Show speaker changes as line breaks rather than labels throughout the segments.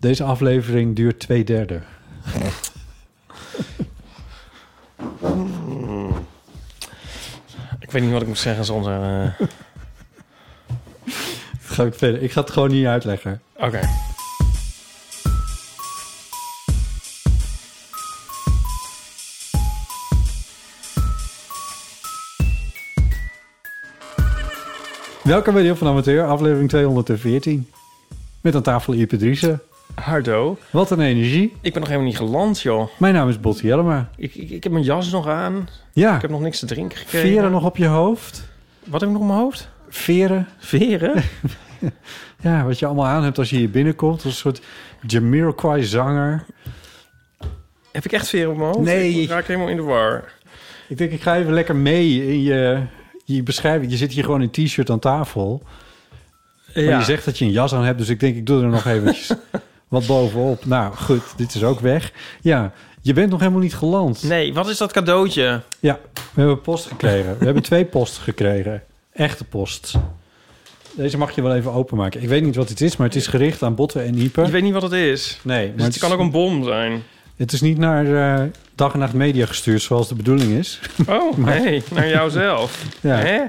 Deze aflevering duurt twee derde.
Ik weet niet wat ik moet zeggen zonder... eh,
Dat Ga ik verder. Ik ga het gewoon niet uitleggen.
Oké.
Welkom bij Deel van Amateur, aflevering 214. Met aan tafel Ipe Driessen.
Hardo.
Wat een energie.
Ik ben nog helemaal niet geland, joh.
Mijn naam is Botti Jellema.
Ik, ik, ik heb mijn jas nog aan.
Ja,
Ik heb nog niks te drinken gekregen.
veren nog op je hoofd.
Wat heb ik nog op mijn hoofd?
Veren.
Veren?
Ja, wat je allemaal aan hebt als je hier binnenkomt. Als een soort Jamiroquai zanger.
heb ik echt veren op mijn hoofd?
Nee.
Ik raak helemaal in de war.
Ik denk, ik ga even lekker mee in je, je beschrijving. Je zit hier gewoon in t-shirt aan tafel. Maar je zegt dat je een jas aan hebt, dus ik denk, ik doe er nog eventjes wat bovenop. Nou, goed, dit is ook weg. Ja, je bent nog helemaal niet geland.
Nee, wat is dat cadeautje?
Ja, we hebben post gekregen. We hebben twee posten gekregen. Echte post. Deze mag je wel even openmaken. Ik weet niet wat het is, maar het is gericht aan botten en
Ik
hyper.
weet niet wat het is.
Nee,
Dus
maar
het kan ook een bom zijn.
het is niet naar eh, dag en nacht media gestuurd, zoals de bedoeling is.
Oh, nee. Naar jouzelf.
Ja.
Hè?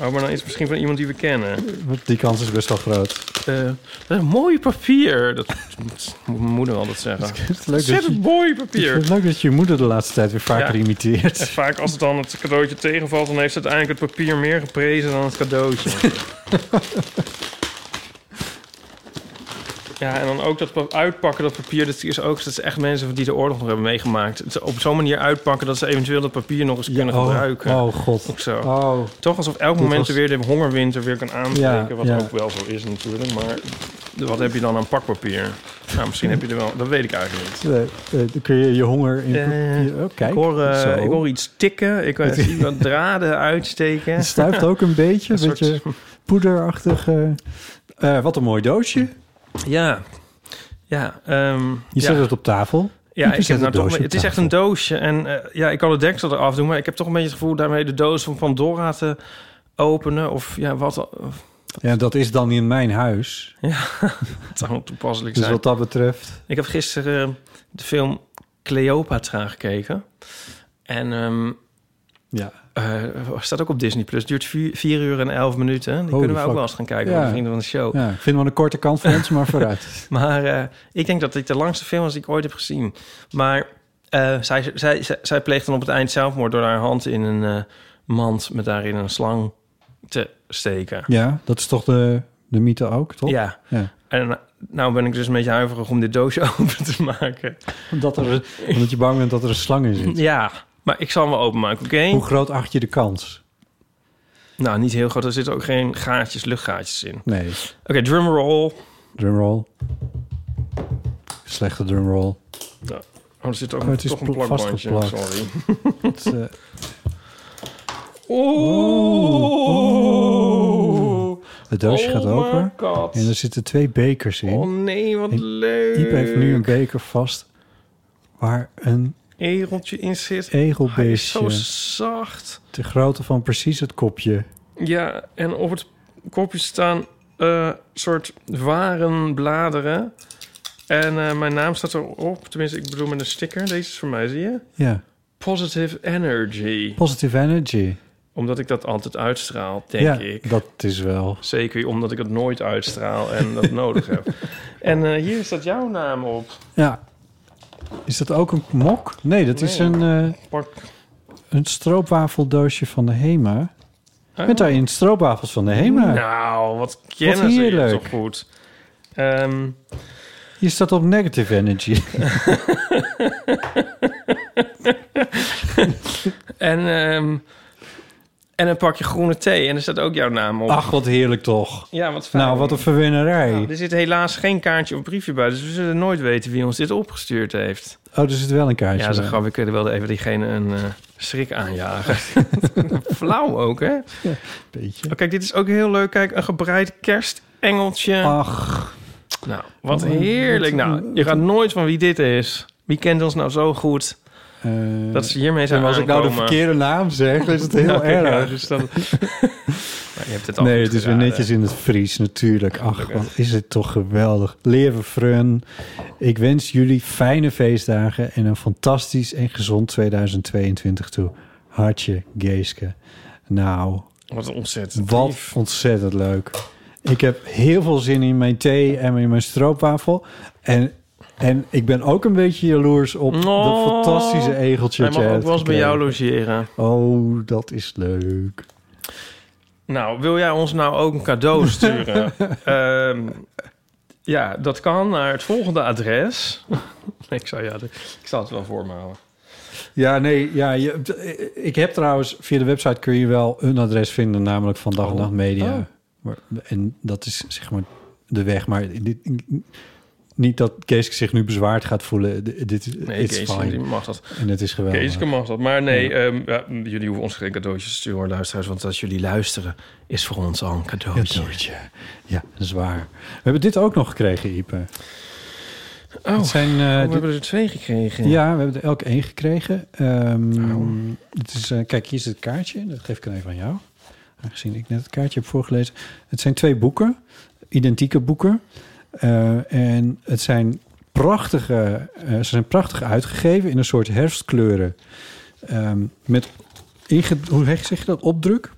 Oh, maar dan is het misschien van iemand die we kennen.
Want Die kans is best wel groot.
Eh, dat is een mooi papier. Dat moet mijn moeder altijd zeggen.
Het is leuk dat
Ontzettend
je,
mooi
ik vind
papier.
het leuk dat je je moeder de laatste tijd weer vaker
Ja.
imiteert.
Vaak als het dan het cadeautje tegenvalt, dan heeft ze uiteindelijk het papier meer geprezen dan het cadeautje. ja, en dan ook dat pa- uitpakken, dat papier, dat is ook dat is echt mensen die de oorlog nog hebben meegemaakt. Het op zo'n manier uitpakken dat ze eventueel dat papier nog eens kunnen
oh,
gebruiken.
Oh god.
Ook zo.
Oh,
Toch alsof elk
Dit
moment
was-
weer de hongerwinter weer kan aansteken,
Ja,
wat
ja.
ook wel zo is natuurlijk. Maar wat heb je dan aan pakpapier? Nou, misschien heb je er wel, dat weet ik eigenlijk niet.
eh, eh, dan kun je je honger in.
Eh,
je- oh, kijk,
Ik hoor, eh,
zo.
ik hoor iets tikken. Ik eh, zie wat draden uitsteken.
Het stuift ook een beetje, een
Een
beetje poederachtig. eh. Eh, wat een mooi doosje.
Ja. Ja, ehm,
Je
ja.
zet het op tafel.
ja, ik
je zet
heb nou
het
toch,
doosje op
het is echt een doosje. En eh, ja, ik kan het deksel eraf doen, maar ik heb toch een beetje het gevoel daarmee de doos van Pandora te openen. Of ja, wat of,
Ja, dat is dan in mijn huis.
het zou wel toepasselijk
Dus
zijn.
wat dat betreft.
Ik heb gisteren eh, de film Cleopatra gekeken. En ehm
Ja.
eh, staat ook op Disney Plus. Duurt 4 uur en 11 minuten. Die
Holy
kunnen we ook
fuck.
wel eens gaan kijken.
Ja.
Met de vrienden van de show.
ja, ik vind wel een korte kant van ons, maar vooruit.
Maar eh, ik denk dat dit de langste film was die ik ooit heb gezien. Maar eh, zij, zij, zij, zij pleegt dan op het eind zelfmoord door haar hand in een eh, mand met daarin een slang te steken.
Ja, dat is toch de, de mythe ook, toch?
Ja.
Ja.
En eh, nou ben ik dus een beetje huiverig om dit doosje open te maken.
Omdat, er, omdat je bang bent dat er een slang in zit.
Ja, maar ik zal hem wel openmaken, oké?
Hoe groot acht je de kans?
Nou, niet heel groot. Er zitten ook geen gaatjes, luchtgaatjes in. Oké,
Nee,
drumroll.
drumroll. Slechte drumroll.
Oh, er zit ook
Oh, het is
toch een
pl-
plakbandje.
vastgeplakt.
Sorry.
Het, eh,
Oh,
het doosje
Oh
gaat
my
open.
God.
En er zitten twee bekers in.
Oh nee, wat
En
leuk.
Iep heeft nu een beker vast waar een
egeltje in zit. Hij is
egelbeestje
zo zacht.
de grootte van precies het kopje.
Ja, en op het kopje staan eh soort warenbladeren. En eh, mijn naam staat erop. Tenminste, ik bedoel met een sticker. Deze is voor mij, zie je?
Ja,
Positive Energy.
positive energy.
Omdat ik dat altijd uitstraal, denk
ja,
ik.
dat is wel.
Zeker omdat ik het nooit uitstraal en dat nodig heb. En eh, hier staat jouw naam op.
Ja. Is dat ook een mok? Nee, dat is
Nee.
een, eh,
Pak.
een stroopwafeldoosje van de Hema. Met daarin stroopwafels van de Hema.
Oh. Nou, wat kennen
Wat
ze je
heerlijk.
toch goed. Ehm,
Hier staat op negative energy.
en, ehm, en een pakje groene thee. En er staat ook jouw naam op.
Ach, wat heerlijk toch.
Ja, wat fijn.
Nou, wat een
Nou,
verwennerij.
er zit helaas geen kaartje of briefje bij, dus we zullen nooit weten wie ons dit opgestuurd heeft.
Oh, er zit wel een kaartje
Ja, zo
bij.
grap, ik wilde even diegene een eh, schrik aanjagen. Flauw ook, hè?
Beetje.
Oh, kijk, dit is ook heel leuk. Kijk, een gebreid kerstengeltje.
Ach,
Nou, wat
Wat een-
heerlijk.
wat een-
Nou, je gaat nooit van wie dit is. Wie kent ons nou zo goed?
eh,
Dat ze hiermee zijn
en als ik nou de
aankomen.
verkeerde naam zeg, dan is het heel
Nou, ja,
erg.
dus dan... Maar je hebt het al
Nee,
goed
het is weer
geraden.
netjes in het Fries natuurlijk. Ach, wat is het toch geweldig. Leven Frun, ik wens jullie fijne feestdagen en een fantastisch en gezond 2022 toe. Hartje, Geeske. Nou,
Wat een ontzettend.
wat
lief.
ontzettend leuk. Ik heb heel veel zin in mijn thee en in mijn stroopwafel. En, en ik ben ook een beetje jaloers op
Oh,
dat fantastische egeltje.
Hij mag
dat jij
ook
hebt
wel eens bij jou
gekregen.
logeren.
Oh, dat is leuk.
Nou, wil jij ons nou ook een cadeau sturen? Ehm, ja, dat kan naar het volgende adres. ik, zou, ja, de- ik zal het wel voor me houden.
Ja, nee, ja, je, ik heb trouwens via de website kun je wel een adres vinden, namelijk van Dag en
Oh.
Nacht Media.
Oh.
Maar, en dat is zeg maar de weg. Maar dit, niet dat Kees zich nu bezwaard gaat voelen. D- Dit is
Nee,
it's
Kees,
fine.
die mag dat.
En het is geweldig.
Kees, kan mag dat. Maar nee, ehm, ja, jullie hoeven ons geen cadeautjes te sturen, hoor, luisteraars. Want als jullie luisteren, is voor ons al een
Ja,
cadeautje.
doortje. Ja, dat is waar. We hebben dit ook nog gekregen, Ipe.
Oh,
Het zijn, eh,
we
dit-
hebben er twee gekregen.
ja, we hebben er elk één gekregen. Ehm, het is, eh, kijk, hier is het kaartje. Dat geef ik dan even aan jou. Aangezien ik net het kaartje heb voorgelezen. Het zijn twee boeken. Identieke boeken. Eh, en het zijn prachtige... eh, ze zijn prachtig uitgegeven in een soort herfstkleuren. Ehm, met... inge- Hoe zeg je dat? Opdruk?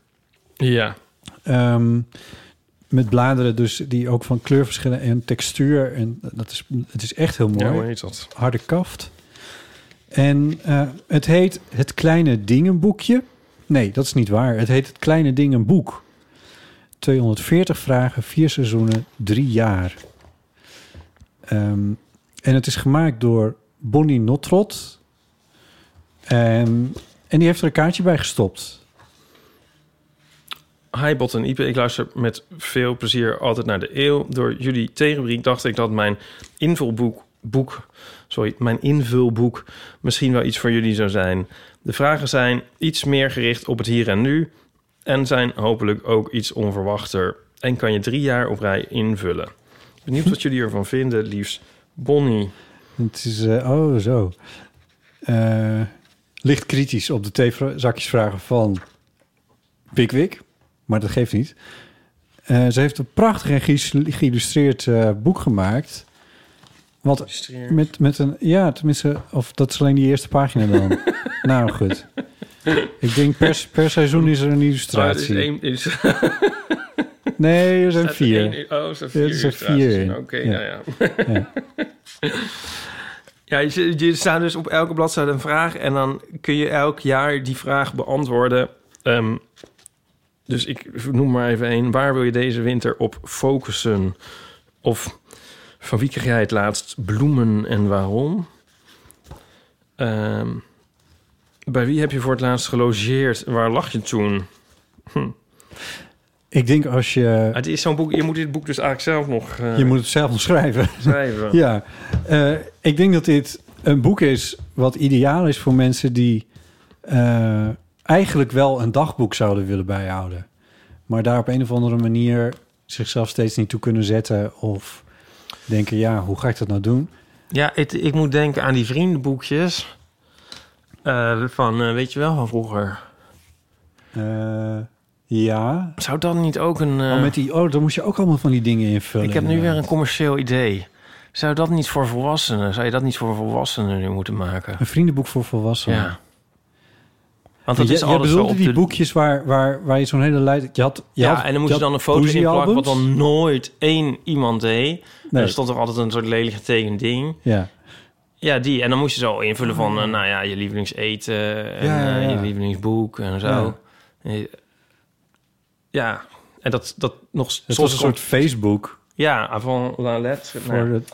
ja.
Ehm, met bladeren dus die ook van kleurverschillen en textuur. En dat is, het is echt heel mooi.
Ja, hoe heet dat?
Harde kaft. En eh, het heet Het Kleine Dingenboekje. Nee, dat is niet waar. Het heet Het Kleine Dingenboek. 240 vragen, vier seizoenen, drie jaar. Ehm, en het is gemaakt door Bonnie Notrot. Ehm, en die heeft er een kaartje bij gestopt.
Hi Bot en Ipe, ik luister met veel plezier altijd naar de eeuw. Door jullie theorie dacht ik dat mijn invulboek, boek, sorry, mijn invulboek misschien wel iets voor jullie zou zijn. De vragen zijn iets meer gericht op het hier en nu en zijn hopelijk ook iets onverwachter. En kan je drie jaar op rij invullen. Benieuwd wat jullie ervan vinden, liefst Bonnie.
Het is, eh, oh zo. Eh, ligt kritisch op de theezakjesvragen van Pickwick. Maar dat geeft niet. Eh, ze heeft een prachtig en geïs- geïllustreerd eh, boek gemaakt. Wat met, met een... Ja, tenminste... Of dat is alleen die eerste pagina dan. nou, goed. Ik denk per, per seizoen is er een
Oh, het is
illustratie.
één- is-
Nee, er zijn
staat er
vier.
één- oh, er staan
Ja,
vier.
er zijn
illustraties
vier
in.
in.
Oké,
Ja.
nou ja. Ja, je, je staat dus op elke bladzijde een vraag... en dan kun je elk jaar die vraag beantwoorden. Ehm, dus ik noem maar even één. Waar wil je deze winter op focussen? Of van wie kreeg jij het laatst bloemen en waarom? Ehm, bij wie heb je voor het laatst gelogeerd? Waar lag je toen?
Ik denk als je...
Het is zo'n boek, je moet dit boek dus eigenlijk zelf nog eh,
Je moet het zelf nog schrijven.
schrijven.
Ja, eh, ik denk dat dit een boek is wat ideaal is voor mensen die eh, eigenlijk wel een dagboek zouden willen bijhouden. Maar daar op een of andere manier zichzelf steeds niet toe kunnen zetten. Of denken, ja, hoe ga ik dat nou doen?
Ja, het- ik moet denken aan die vriendenboekjes. Eh, van, eh, weet je wel, van vroeger.
Eh, ja.
Zou dat niet ook een... eh,
Oh, met die, oh, dan moest je ook allemaal van die dingen invullen.
ik heb nu weer
inderdaad.
een commercieel idee. Zou dat niet voor volwassenen... Zou je dat niet voor volwassenen nu moeten maken?
Een vriendenboek voor volwassenen.
Ja.
Want dat
je,
is
je
alles zo
bedoelde
op
die
de...
boekjes waar, waar, waar je zo'n hele lijst... Je had, je
ja,
had-
en dan moest je
had
dan een foto in plakken wat
poëziealbums.
dan nooit één iemand deed.
Nee.
Er stond toch altijd een soort lelijk getekend ding.
Ja.
Ja, die. En dan moest je zo invullen
Mm.
van, eh, nou ja, je lievelingseten en
Ja, ja,
eh,
ja.
je lievelingsboek en zo. Eh, Ja, en dat, dat nog
Het
soms...
was
kon-
een soort Facebook.
Ja, avant la lettre.
Voor
nou ja.
het-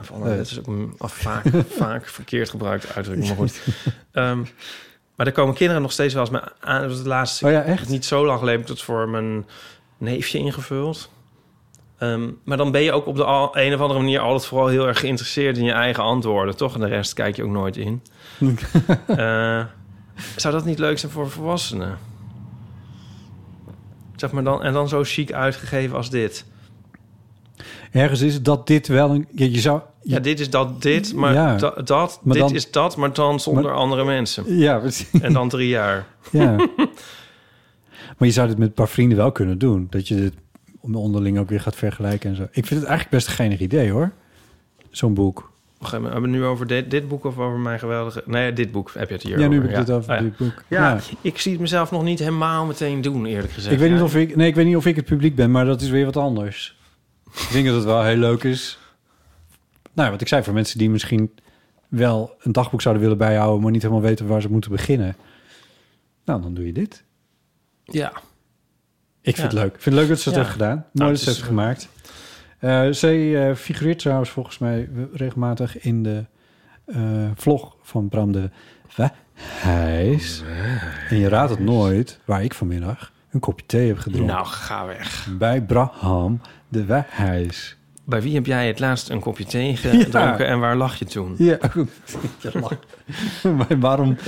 Van, eh, dat is ook een af- vaak, vaak verkeerd gebruikt uitdrukking, maar goed. Ehm, maar daar komen kinderen nog steeds wel eens mee aan. Dat was het laatste,
Oh ja, echt?
niet zo lang geleden, heb ik dat voor mijn neefje ingevuld. Ehm, maar dan ben je ook op de al- een of andere manier altijd vooral heel erg geïnteresseerd in je eigen antwoorden, toch? En de rest kijk je ook nooit in. Eh, zou dat niet leuk zijn voor volwassenen? Zeg maar dan, en dan zo chic uitgegeven als dit.
Ergens is het dat dit wel een... Je, je zou...
Ja, dit is dat, dit, maar
Ja.
da- dat,
Maar
dit
dan-
is dat, maar dan zonder
Maar-
andere mensen.
Ja, precies.
En dan drie jaar.
Ja. maar je zou dit met een paar vrienden wel kunnen doen. Dat je dit onderling ook weer gaat vergelijken en zo. Ik vind het eigenlijk best een geinig idee, hoor. Zo'n boek.
Wacht even, hebben we het nu over dit, dit boek of over mijn geweldige... Nee, dit boek heb je het hier
ja, nu
over,
heb ik dit over,
Ah, ja.
dit boek.
Ja, ik zie het mezelf nog niet helemaal meteen doen, eerlijk gezegd.
Ik weet, niet
Ja.
of ik, nee, ik weet niet of ik het publiek ben, maar dat is weer wat anders. ik denk dat het wel heel leuk is. Nou, wat ik zei, voor mensen die misschien wel een dagboek zouden willen bijhouden... maar niet helemaal weten waar ze moeten beginnen. Nou, dan doe je dit.
Ja.
Ik vind
Ja.
het leuk. Ik vind het leuk dat ze dat
Ja. Nou,
hebben gedaan.
het
Mooi dat ze
is-
het heeft gemaakt. Eh zij eh, figureert trouwens volgens mij regelmatig in de eh, vlog van Bram de Wijs. En je raadt het nooit waar ik vanmiddag een kopje thee heb gedronken.
Nou, ga weg.
Bij Braham de Wijs.
Bij wie heb jij het laatst een kopje thee gedronken en waar lag je toen?
Ja, maar waarom?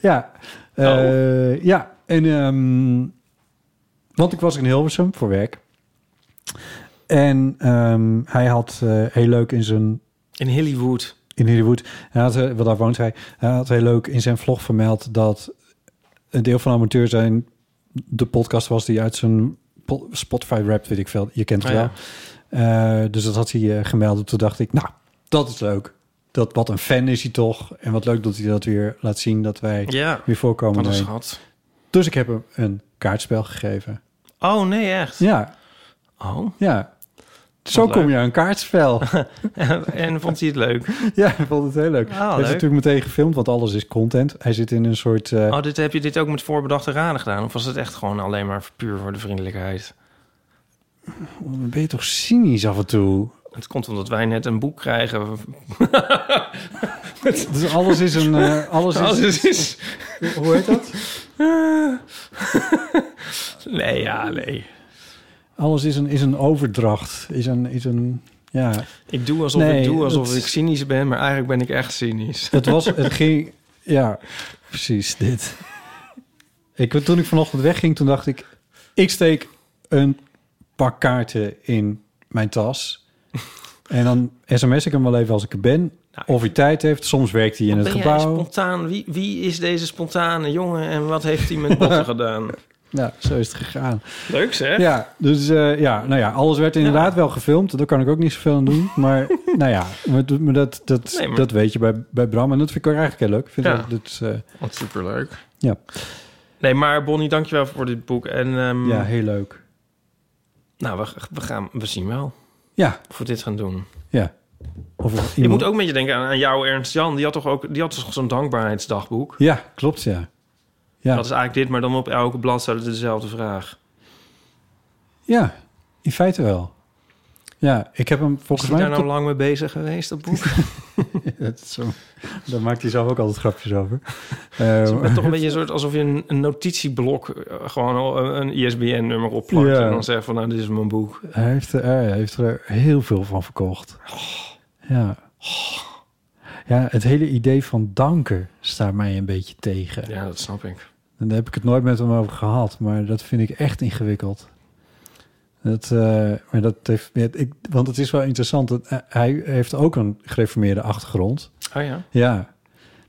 ja, eh,
Oh.
ja. En, ehm, want ik was in Hilversum voor werk. En ehm, hij had eh, heel leuk in zijn
In Hollywood.
in Hollywood. Hij had, eh, wel daar woont hij. Hij had heel leuk in zijn vlog vermeld dat een deel van amateur zijn de podcast was die uit zijn po- Spotify rap, weet ik veel. Je kent het
Ah,
wel. Eh, dus dat had hij eh, gemeld. En Toen dacht ik, nou, dat is leuk. Dat, wat een fan is hij toch. En wat leuk dat hij dat weer laat zien dat wij
Ja,
weer voorkomen.
wat een
Nee.
schat.
Dus ik heb hem een kaartspel gegeven.
Oh, nee, echt?
Ja,
Oh,
ja. Zo
Wat
kom
leuk.
je aan een kaartspel.
en vond hij het leuk?
ja, ik vond het heel leuk.
Ah,
hij heeft
leuk.
natuurlijk meteen gefilmd, want alles is content. Hij zit in een soort... eh,
Oh, dit, heb je dit ook met voorbedachte raden gedaan? Of was het echt gewoon alleen maar puur voor de vriendelijkheid?
Dan ben je toch cynisch af en toe?
Het komt omdat wij net een boek krijgen.
Dus alles is een... eh, alles is,
Als het is.
Hoe heet dat?
Nee, ja, nee.
Alles is een, is een overdracht. Is een, is een, ja.
Ik doe alsof,
Nee,
ik, doe alsof
dat-
ik cynisch ben, maar eigenlijk ben ik echt cynisch.
Het was... Het ging... Ja, precies dit. Ik, toen ik vanochtend wegging, toen dacht ik... Ik steek een pak kaarten in mijn tas. En dan sms ik hem wel even als ik er ben.
Nou,
Of hij tijd heeft. Soms werkt hij in het
ben jij
gebouw.
spontaan? Wie, wie is deze spontane jongen en wat heeft hij met botten gedaan?
Ja, zo is het gegaan.
Leuk zeg.
Ja, dus eh, ja, nou ja, alles werd inderdaad wel gefilmd. Daar kan ik ook niet zoveel aan doen. Maar nou ja, maar, dat- maar dat, dat,
Nee, maar-
dat weet je bij, bij Bram. En dat vind ik ook eigenlijk heel leuk. Ik Vind
Ja.
dat, dat, eh,
Wat superleuk.
Ja.
Nee, maar Bonnie, dankjewel voor dit boek. En ehm,
ja, heel leuk.
nou, we, we, gaan, we zien wel
Ja,
of we dit gaan doen.
ja. Of er
Ik
iemand-
moet ook een beetje denken aan, aan jou, Ernst Jan. Die had toch ook die had toch zo'n dankbaarheidsdagboek?
Ja, klopt, ja. Ja,
Dat is eigenlijk dit, maar dan op elke bladzijde dezelfde vraag.
ja in feite wel. Ja, ik heb hem
Is
volgens
hij
mij...
daar nou lang mee bezig geweest, dat boek?
Dat is zo, daar maakt hij zelf ook altijd grapjes over.
Het
Eh,
is toch een beetje een soort alsof je een, een notitieblok... eh, gewoon al een, een ISBN-nummer opplakt...
Ja.
en dan zegt van, nou, dit is mijn boek.
Hij heeft er, hij heeft er heel veel van verkocht. Ja. Ja, het hele idee van danken staat mij een beetje tegen.
Ja, dat snap ik.
En daar heb ik het nooit met hem over gehad, maar dat vind ik echt ingewikkeld. Dat, eh, maar dat heeft, ja, ik, want het is wel interessant, dat, eh, hij heeft ook een gereformeerde achtergrond.
Oh ja?
Ja.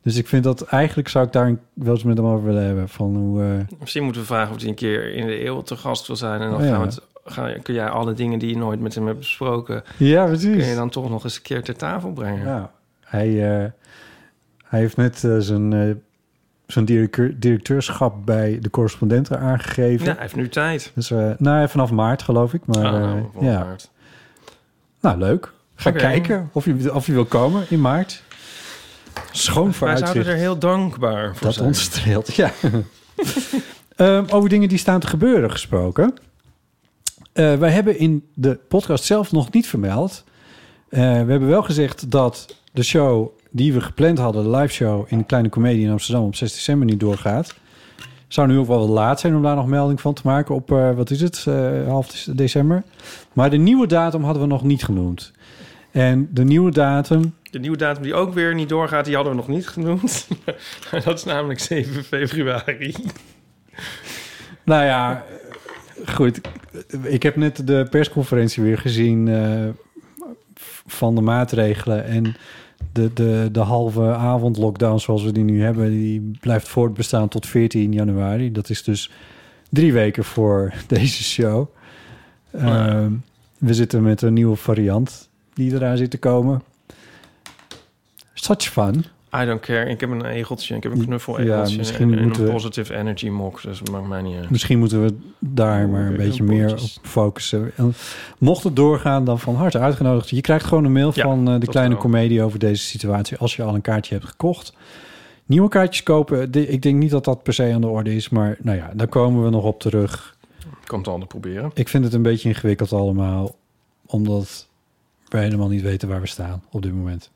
Dus ik vind dat eigenlijk zou ik daar een- wel eens met hem over willen hebben. Van hoe, eh,
Misschien moeten we vragen of hij een keer in de eeuw te gast wil zijn... en dan
Oh ja.
gaan we het, ga, kun jij alle dingen die je nooit met hem hebt besproken...
ja,
kun
precies.
je dan toch nog eens een keer ter tafel brengen.
Ja, hij, eh, hij heeft net eh, zijn eh, zo'n directeur, directeurschap bij de correspondenten aangegeven.
Ja, hij heeft nu tijd.
Dus, eh nou, vanaf maart geloof ik. Maar,
Ah,
eh,
nou, vanaf
ja.
maart.
Nou, leuk. Ga
Oké.
kijken of je, of je wil komen in maart. Schoon
Wij zouden
vooruitzicht.
er heel dankbaar voor
Dat
zijn.
ontstreelt, ja. Ehm, over dingen die staan te gebeuren gesproken. Eh, wij hebben in de podcast zelf nog niet vermeld. Eh, we hebben wel gezegd dat de show die we gepland hadden, de live show in de Kleine Comedie in Amsterdam op 6 december niet doorgaat. Zou nu ook wel wat laat zijn om daar nog melding van te maken op, eh, wat is het, eh, half december. Maar de nieuwe datum hadden we nog niet genoemd. En de nieuwe datum
De nieuwe datum die ook weer niet doorgaat, die hadden we nog niet genoemd. dat is namelijk 7 februari.
Nou ja, goed. Ik heb net de persconferentie weer gezien eh, van de maatregelen. En de, de, de halve avond lockdown zoals we die nu hebben, die blijft voortbestaan tot 14 januari. Dat is dus drie weken voor deze show. Ehm, we zitten met een nieuwe variant die eraan zit te komen. Such fun.
I don't care. Ik heb een egeltje. Ik heb een knuffel-egeltje.
Ja, misschien
en, en
moeten we-
een positive energy mok. Dus het maakt mij niet uit.
Misschien moeten we daar maar een
Weer
beetje
een
meer
potjes.
op focussen. En mocht het doorgaan, dan van harte uitgenodigd. Je krijgt gewoon een mail
Ja,
van eh, de
dat
kleine
wel.
comedie over deze situatie. Als je al een kaartje hebt gekocht. Nieuwe kaartjes kopen, de- ik denk niet dat dat per se aan de orde is. Maar nou ja, daar komen we nog op terug.
Ik kan het ander proberen.
Ik vind het een beetje ingewikkeld allemaal. Omdat we helemaal niet weten waar we staan op dit moment.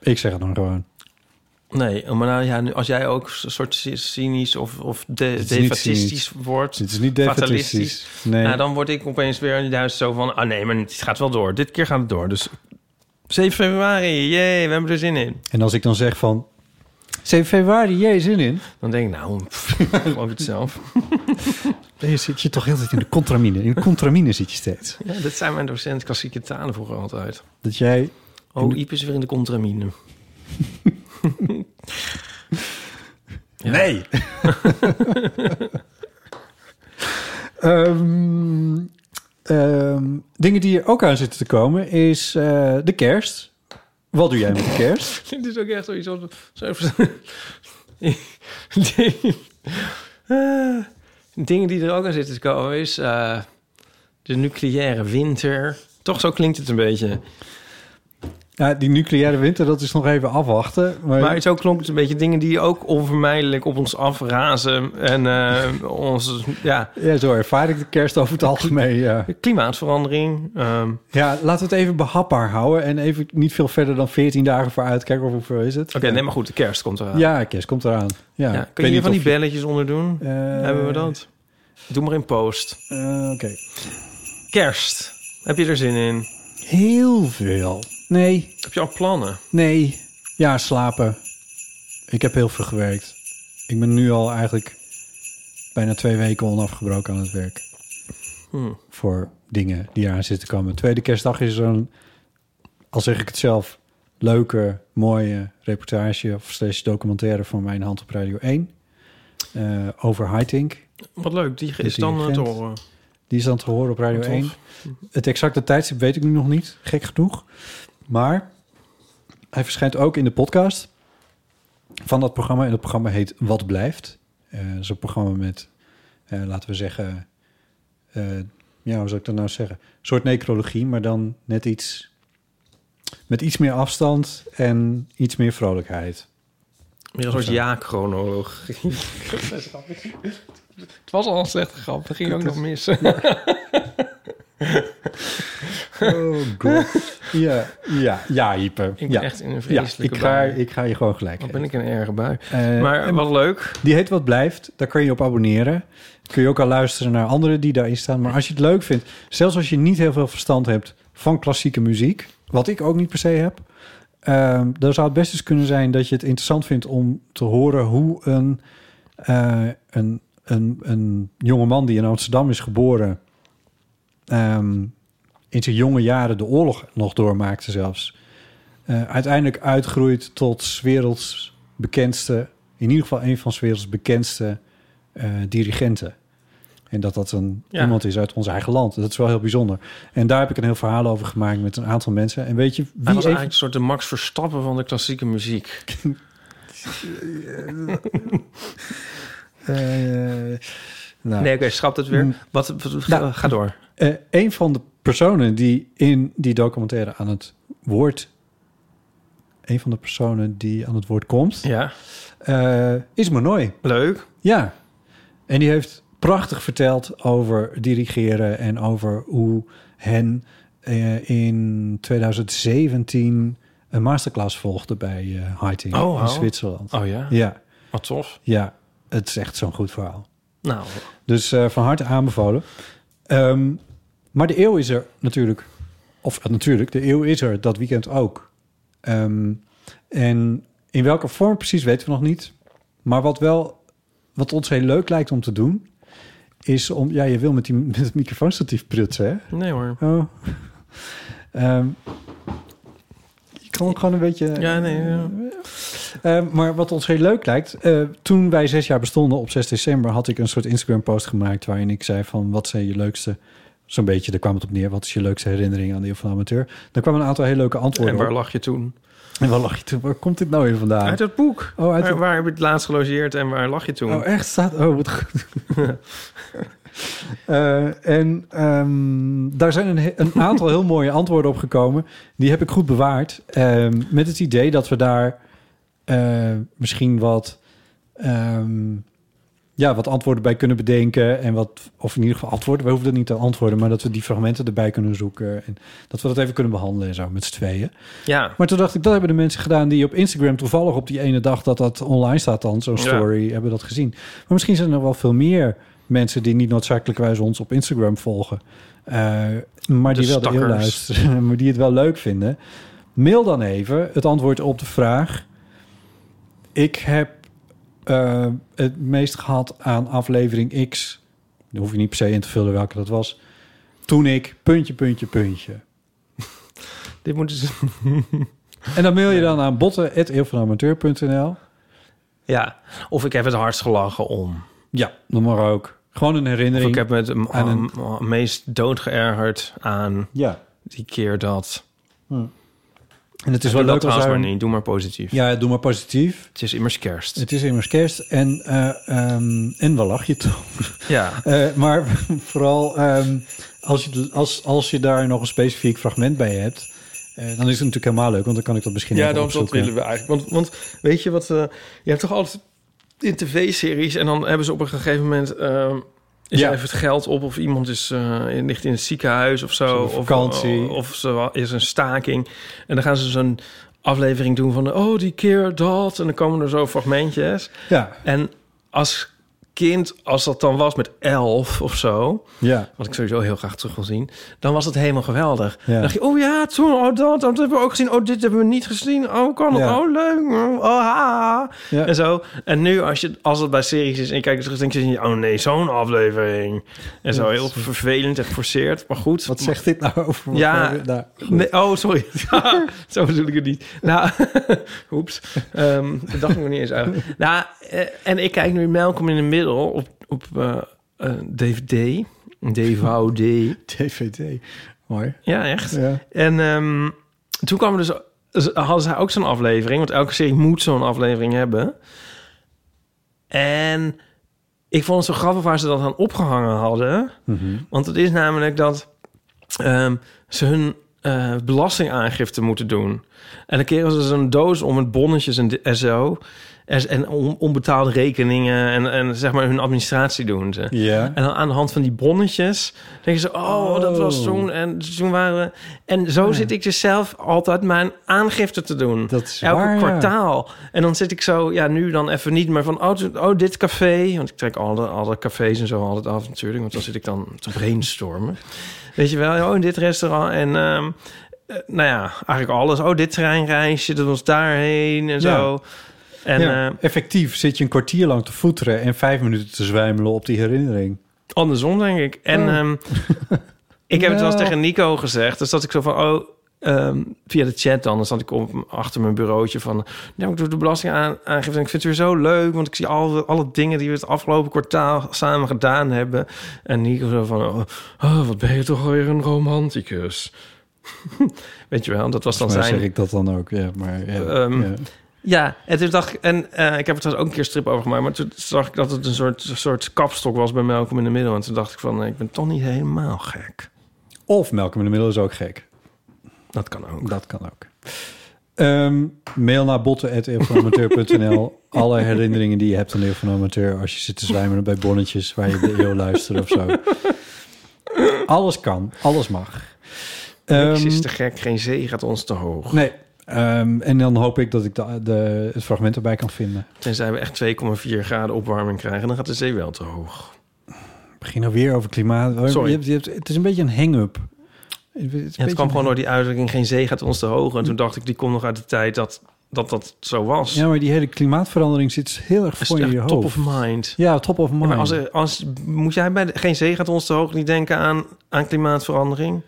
Ik zeg het dan gewoon.
Nee, maar nou, ja, nu- als jij ook een soort cy- cynisch of, of de,
is niet
Eh, defatistisch
cynisch.
wordt...
Het is niet defatistisch. Nee.
Nou, dan word ik opeens weer in die duizend zo van... Ah nee, maar het gaat wel door. Dit keer gaat het door. Dus 7 februari, jee, we hebben er zin in.
En als ik dan zeg van... 7 februari, jij zin in?
Dan denk ik, nou, pff, ik geloof het zelf.
Je zit je toch heel de tijd in de contramine. In de contramine zit je steeds.
Ja, dit zijn mijn docent klassieke talen vroeger altijd.
Dat jij...
Oh, Iep is weer in de contramine.
Nee! Ehm, ehm, dingen die er ook aan zitten te komen is eh, de kerst. Wat doe jij met de kerst?
Dit is ook echt zoiets als... zo even- Ding- Eh, Dingen die er ook aan zitten te komen is... eh, de nucleaire winter. Toch zo klinkt het een beetje.
Ja, die nucleaire winter, dat is nog even afwachten. Maar,
Maar zo klonk het een beetje. Dingen die ook onvermijdelijk op ons afrazen. En eh onze... Ja,
ja, zo ervaar ik de kerst over het algemeen. Ja.
klimaatverandering. ehm,
ja, laten we het even behapbaar houden. En even niet veel verder dan 14 dagen vooruit. Kijken of hoeveel is het.
Oké, nee, maar goed. De kerst komt eraan.
Ja, kerst komt eraan. Ja.
Ja,
Ik weet
kun je hier
niet
van die
of je-
belletjes onder doen?
Eh,
Hebben we dat? Doe maar in post.
eh, Oké.
Kerst. Heb je er zin in?
Heel veel. Nee,
Heb je al plannen?
nee. Ja, slapen. Ik heb heel veel gewerkt. Ik ben nu al eigenlijk bijna twee weken onafgebroken aan het werk.
Hmm.
Voor dingen die eraan zitten te komen. Tweede kerstdag is een, al zeg ik het zelf, leuke, mooie reportage of slash documentaire van mijn hand op Radio 1. eh, over Highting.
Wat leuk, die
Met
is dan
die
eh, te
Gent.
horen.
Die is dan te horen op Radio
Tof.
1. Het exacte tijdstip weet ik nu nog niet, gek genoeg. Maar hij verschijnt ook in de podcast van dat programma. En dat programma heet Wat Blijft. Eh dat is een programma met, eh, laten we zeggen... eh, ja, hoe zou ik dat nou zeggen? Een soort necrologie, maar dan net iets... met iets meer afstand en iets meer vrolijkheid.
Meer een soort ja-chronoloog. Het was al een slechte grap, dat ging ook nog mis.
Oh god. ja, ja, ja, Ieper.
Ik ben
ja.
echt in een
Ja,
vreselijke
ik ga,
bui.
ik ga je gewoon gelijk
Wat
geven.
ben ik een erge bui.
Eh,
Maar wat leuk.
Die heet Wat Blijft. Daar kun je op abonneren. Kun je ook al luisteren naar anderen die daarin staan. Maar als je het leuk vindt, zelfs als je niet heel veel verstand hebt van klassieke muziek, wat ik ook niet per se heb, ehm, dan zou het best eens kunnen zijn dat je het interessant vindt om te horen hoe een, eh een, een, een jongeman die in Amsterdam is geboren, ehm, in zijn jonge jaren de oorlog nog doormaakte zelfs. eh, uiteindelijk uitgroeit tot 's werelds bekendste, in ieder geval een van 's werelds bekendste eh, dirigenten. En dat dat een,
Ja.
iemand is uit ons eigen land. Dat is wel heel bijzonder. En daar heb ik een heel verhaal over gemaakt met een aantal mensen. En weet je wie
Hij was
even-
eigenlijk een soort de Max Verstappen van de klassieke muziek.
Eh, nou.
Nee, oké, schrap het weer.
Mm.
Wat, wat-
Nou,
ga door.
Eh, een van de personen die in die documentaire aan het woord... Een van de personen die aan het woord komt...
Ja.
eh, is Manoy.
Leuk.
Ja. En die heeft prachtig verteld over dirigeren... en over hoe hen eh, in 2017 een masterclass volgde bij eh Heiting
Oh,
in
wauw.
Zwitserland.
Oh ja?
Ja,
Wat tof.
ja. Het is echt zo'n goed verhaal.
Nou,
Dus eh, van harte aanbevolen. Ehm, maar de eeuw is er natuurlijk. Of eh, natuurlijk, de eeuw is er dat weekend ook. Ehm, en in welke vorm precies weten we nog niet. Maar wat wel, wat ons heel leuk lijkt om te doen, is om. Ja, je wil met, die, met het microfoonstatief prutsen, hè?
nee hoor.
Oh. Ehm, je kan ook gewoon een beetje.
Ja, nee. ja.
Eh, maar wat ons heel leuk lijkt, eh, toen wij zes jaar bestonden op 6 december, had ik een soort Instagram-post gemaakt waarin ik zei van wat zijn je leukste, zo'n beetje, daar kwam het op neer, wat is je leukste herinnering aan de Eeuw van de Amateur. Daar kwamen een aantal hele leuke antwoorden
En waar
op.
lag je toen?
En waar lag je toen? Waar komt dit nou weer vandaan?
Uit het boek.
Oh, uit
waar,
het-
waar heb je het laatst gelogeerd en waar lag je toen?
Oh, echt? Staat... Oh, wat goed. Eh, en ehm, daar zijn een, he- een aantal heel mooie antwoorden op gekomen. Die heb ik goed bewaard. Ehm, met het idee dat we daar eh, misschien wat, ehm, ja, wat antwoorden bij kunnen bedenken. En wat, of in ieder geval antwoorden. We hoeven dat niet te antwoorden, maar dat we die fragmenten erbij kunnen zoeken. En dat we dat even kunnen behandelen en zo met z'n tweeën.
Ja.
Maar toen dacht ik, dat hebben de mensen gedaan die op Instagram toevallig op die ene dag dat dat online staat dan, zo'n
Ja.
story, hebben dat gezien. Maar misschien zijn er wel veel meer mensen die niet noodzakelijkwijs ons op Instagram volgen. eh, maar
De
die wel de eeuw
stakkers.
luisteren, maar die het wel leuk vinden. Mail dan even het antwoord op de vraag. Ik heb eh, het meest gehad aan aflevering X. Daar hoef je niet per se in te vullen welke dat was. Toen ik puntje, puntje, puntje.
Dit moeten ze...
En dan mail je dan aan botten.eeuwvanamateur.nl.
Ja. Of ik heb het hardst gelachen om.
Ja, dan mag ook. Gewoon een
Of
herinnering.
ik heb me het m-
aan een-
m- Oh, meest doodgeërgerd aan
Ja.
die keer dat.
En het is
Doe
wel
dat
leuk als
trouwens
er...
maar niet. Doe maar positief.
Ja, doe maar positief.
Het is immers kerst.
Het is immers kerst en, eh, ehm, en waar lach je toch?
Ja.
Eh, maar vooral ehm, als, je, als, als je daar nog een specifiek fragment bij hebt... eh, dan is het natuurlijk helemaal leuk, want dan kan ik dat misschien
Ja,
even
dat, dat
opzoeken.
willen we eigenlijk. Want, want weet je wat... eh, je hebt toch altijd in tv-series... en dan hebben ze op een gegeven moment... eh, is
Ja.
er even het geld op of iemand is, eh, in- ligt in het ziekenhuis of zo.
Ze
Of
hebben vakantie.
Of, of ze wa- is een staking. En dan gaan ze zo'n aflevering doen van... oh, die keer dat. En dan komen er zo fragmentjes.
Ja,
En als kind, als dat dan was met elf of zo...
ja.
wat ik sowieso heel graag terug wil zien, dan was het helemaal geweldig.
Ja.
Dan dacht je, oh ja, toen, oh dat, dat hebben we ook gezien. Oh, dit hebben we niet gezien. Oh, kan het?
Ja.
Oh, leuk. Oh, ha.
Ja.
En zo. En nu, als, je, als het bij series is en je kijkt terug, denk je, oh nee, zo'n aflevering. En zo,
Ja,
heel vervelend en geforceerd, maar goed.
Wat zegt dit nou over...
Ja.
Nou, goed.
Nee, oh, sorry. Ja, zo bedoel ik het niet. Nou, oeps. Ehm, dat dacht ik nog niet eens uit. Nou, eh, en ik kijk nu Malcolm in the Middle op, op eh, eh, DVD. DVD.
DVD. Mooi.
Ja, echt.
Ja.
En ehm, toen kwam er dus, z- hadden zij ook zo'n aflevering, want elke serie moet zo'n aflevering hebben. En ik vond het zo grappig waar ze dat aan opgehangen hadden. Want het is namelijk dat ehm, ze hun eh, belastingaangifte moeten doen. En dan keren ze zo'n doos om met bonnetjes en, di- en zo. En, en on- onbetaalde rekeningen en, en zeg maar hun administratie doen ze.
Ja.
En dan aan de hand van die bonnetjes denken ze... oh, dat was toen en toen waren we... En zo zit ik dus zelf altijd mijn aangifte te doen.
Dat is
Elke
waar, ja.
kwartaal. En dan zit ik zo, ja, nu dan even niet... maar van, oh, toen- oh dit café... want ik trek alle, alle cafés en zo altijd af natuurlijk... want dan zit ik dan te brainstormen. Weet je wel, oh, in dit restaurant en... ehm, eh, nou ja, eigenlijk alles. Oh, dit treinreisje, dat was daarheen en zo. En
Ja,
eh,
effectief zit je een kwartier lang te voeteren en vijf minuten te zwijmelen op die herinnering.
Andersom, denk ik. En
Oh.
ehm, ik heb het wel eens
Nou.
tegen Nico gezegd. Dus dat ik zo van, oh, ehm, via de chat dan. Dan zat ik op, achter mijn bureautje van... Nou, ik doe de belastingaangifte en ik vind het weer zo leuk... want ik zie alle, alle dingen die we het afgelopen kwartaal samen gedaan hebben. En Nico zo van, oh, oh, wat ben je toch alweer een romanticus. Weet je wel, dat was dan
Maar
zijn...
zeg ik dat dan ook, ja. Maar, ja,
Ehm,
ja.
Ja, en toen dacht ik, en eh, ik heb er trouwens ook een keer een strip over gemaakt, maar toen zag ik dat het een soort, soort kapstok was bij Malcolm in de Middel. En toen dacht ik van, nee, ik ben toch niet helemaal gek.
Of Malcolm in de Middel is ook gek.
Dat kan ook.
Dat kan ook. Ehm, mail naar botten.eeuwvanamateur.nl Alle herinneringen die je hebt aan de Eeuw van de Amateur... als je zit te zwijmen bij bonnetjes waar je de eeuw luistert of zo. Alles kan, alles mag.
Niks
Ehm,
is te gek, geen zee gaat ons te hoog.
Nee. Ehm, en dan hoop ik dat ik de, de, het fragment erbij kan vinden.
Tenzij we echt 2,4 graden opwarming krijgen, dan gaat de zee wel te hoog.
Ik begin alweer over klimaat.
Sorry.
Je hebt, je hebt, het is een beetje een hang-up. Het, is een
Ja, het
beetje
kwam
een-
gewoon door die uitdrukking, geen zee gaat ons te hoog. En toen dacht ik, die komt nog uit de tijd dat dat, dat zo was.
Ja, maar die hele klimaatverandering zit dus heel erg
Dat is
voor in
echt
je hoofd.
top of mind.
Ja, top of mind.
Ja, maar als, er- als, moet jij bij de- geen zee gaat ons te hoog niet denken aan, aan klimaatverandering?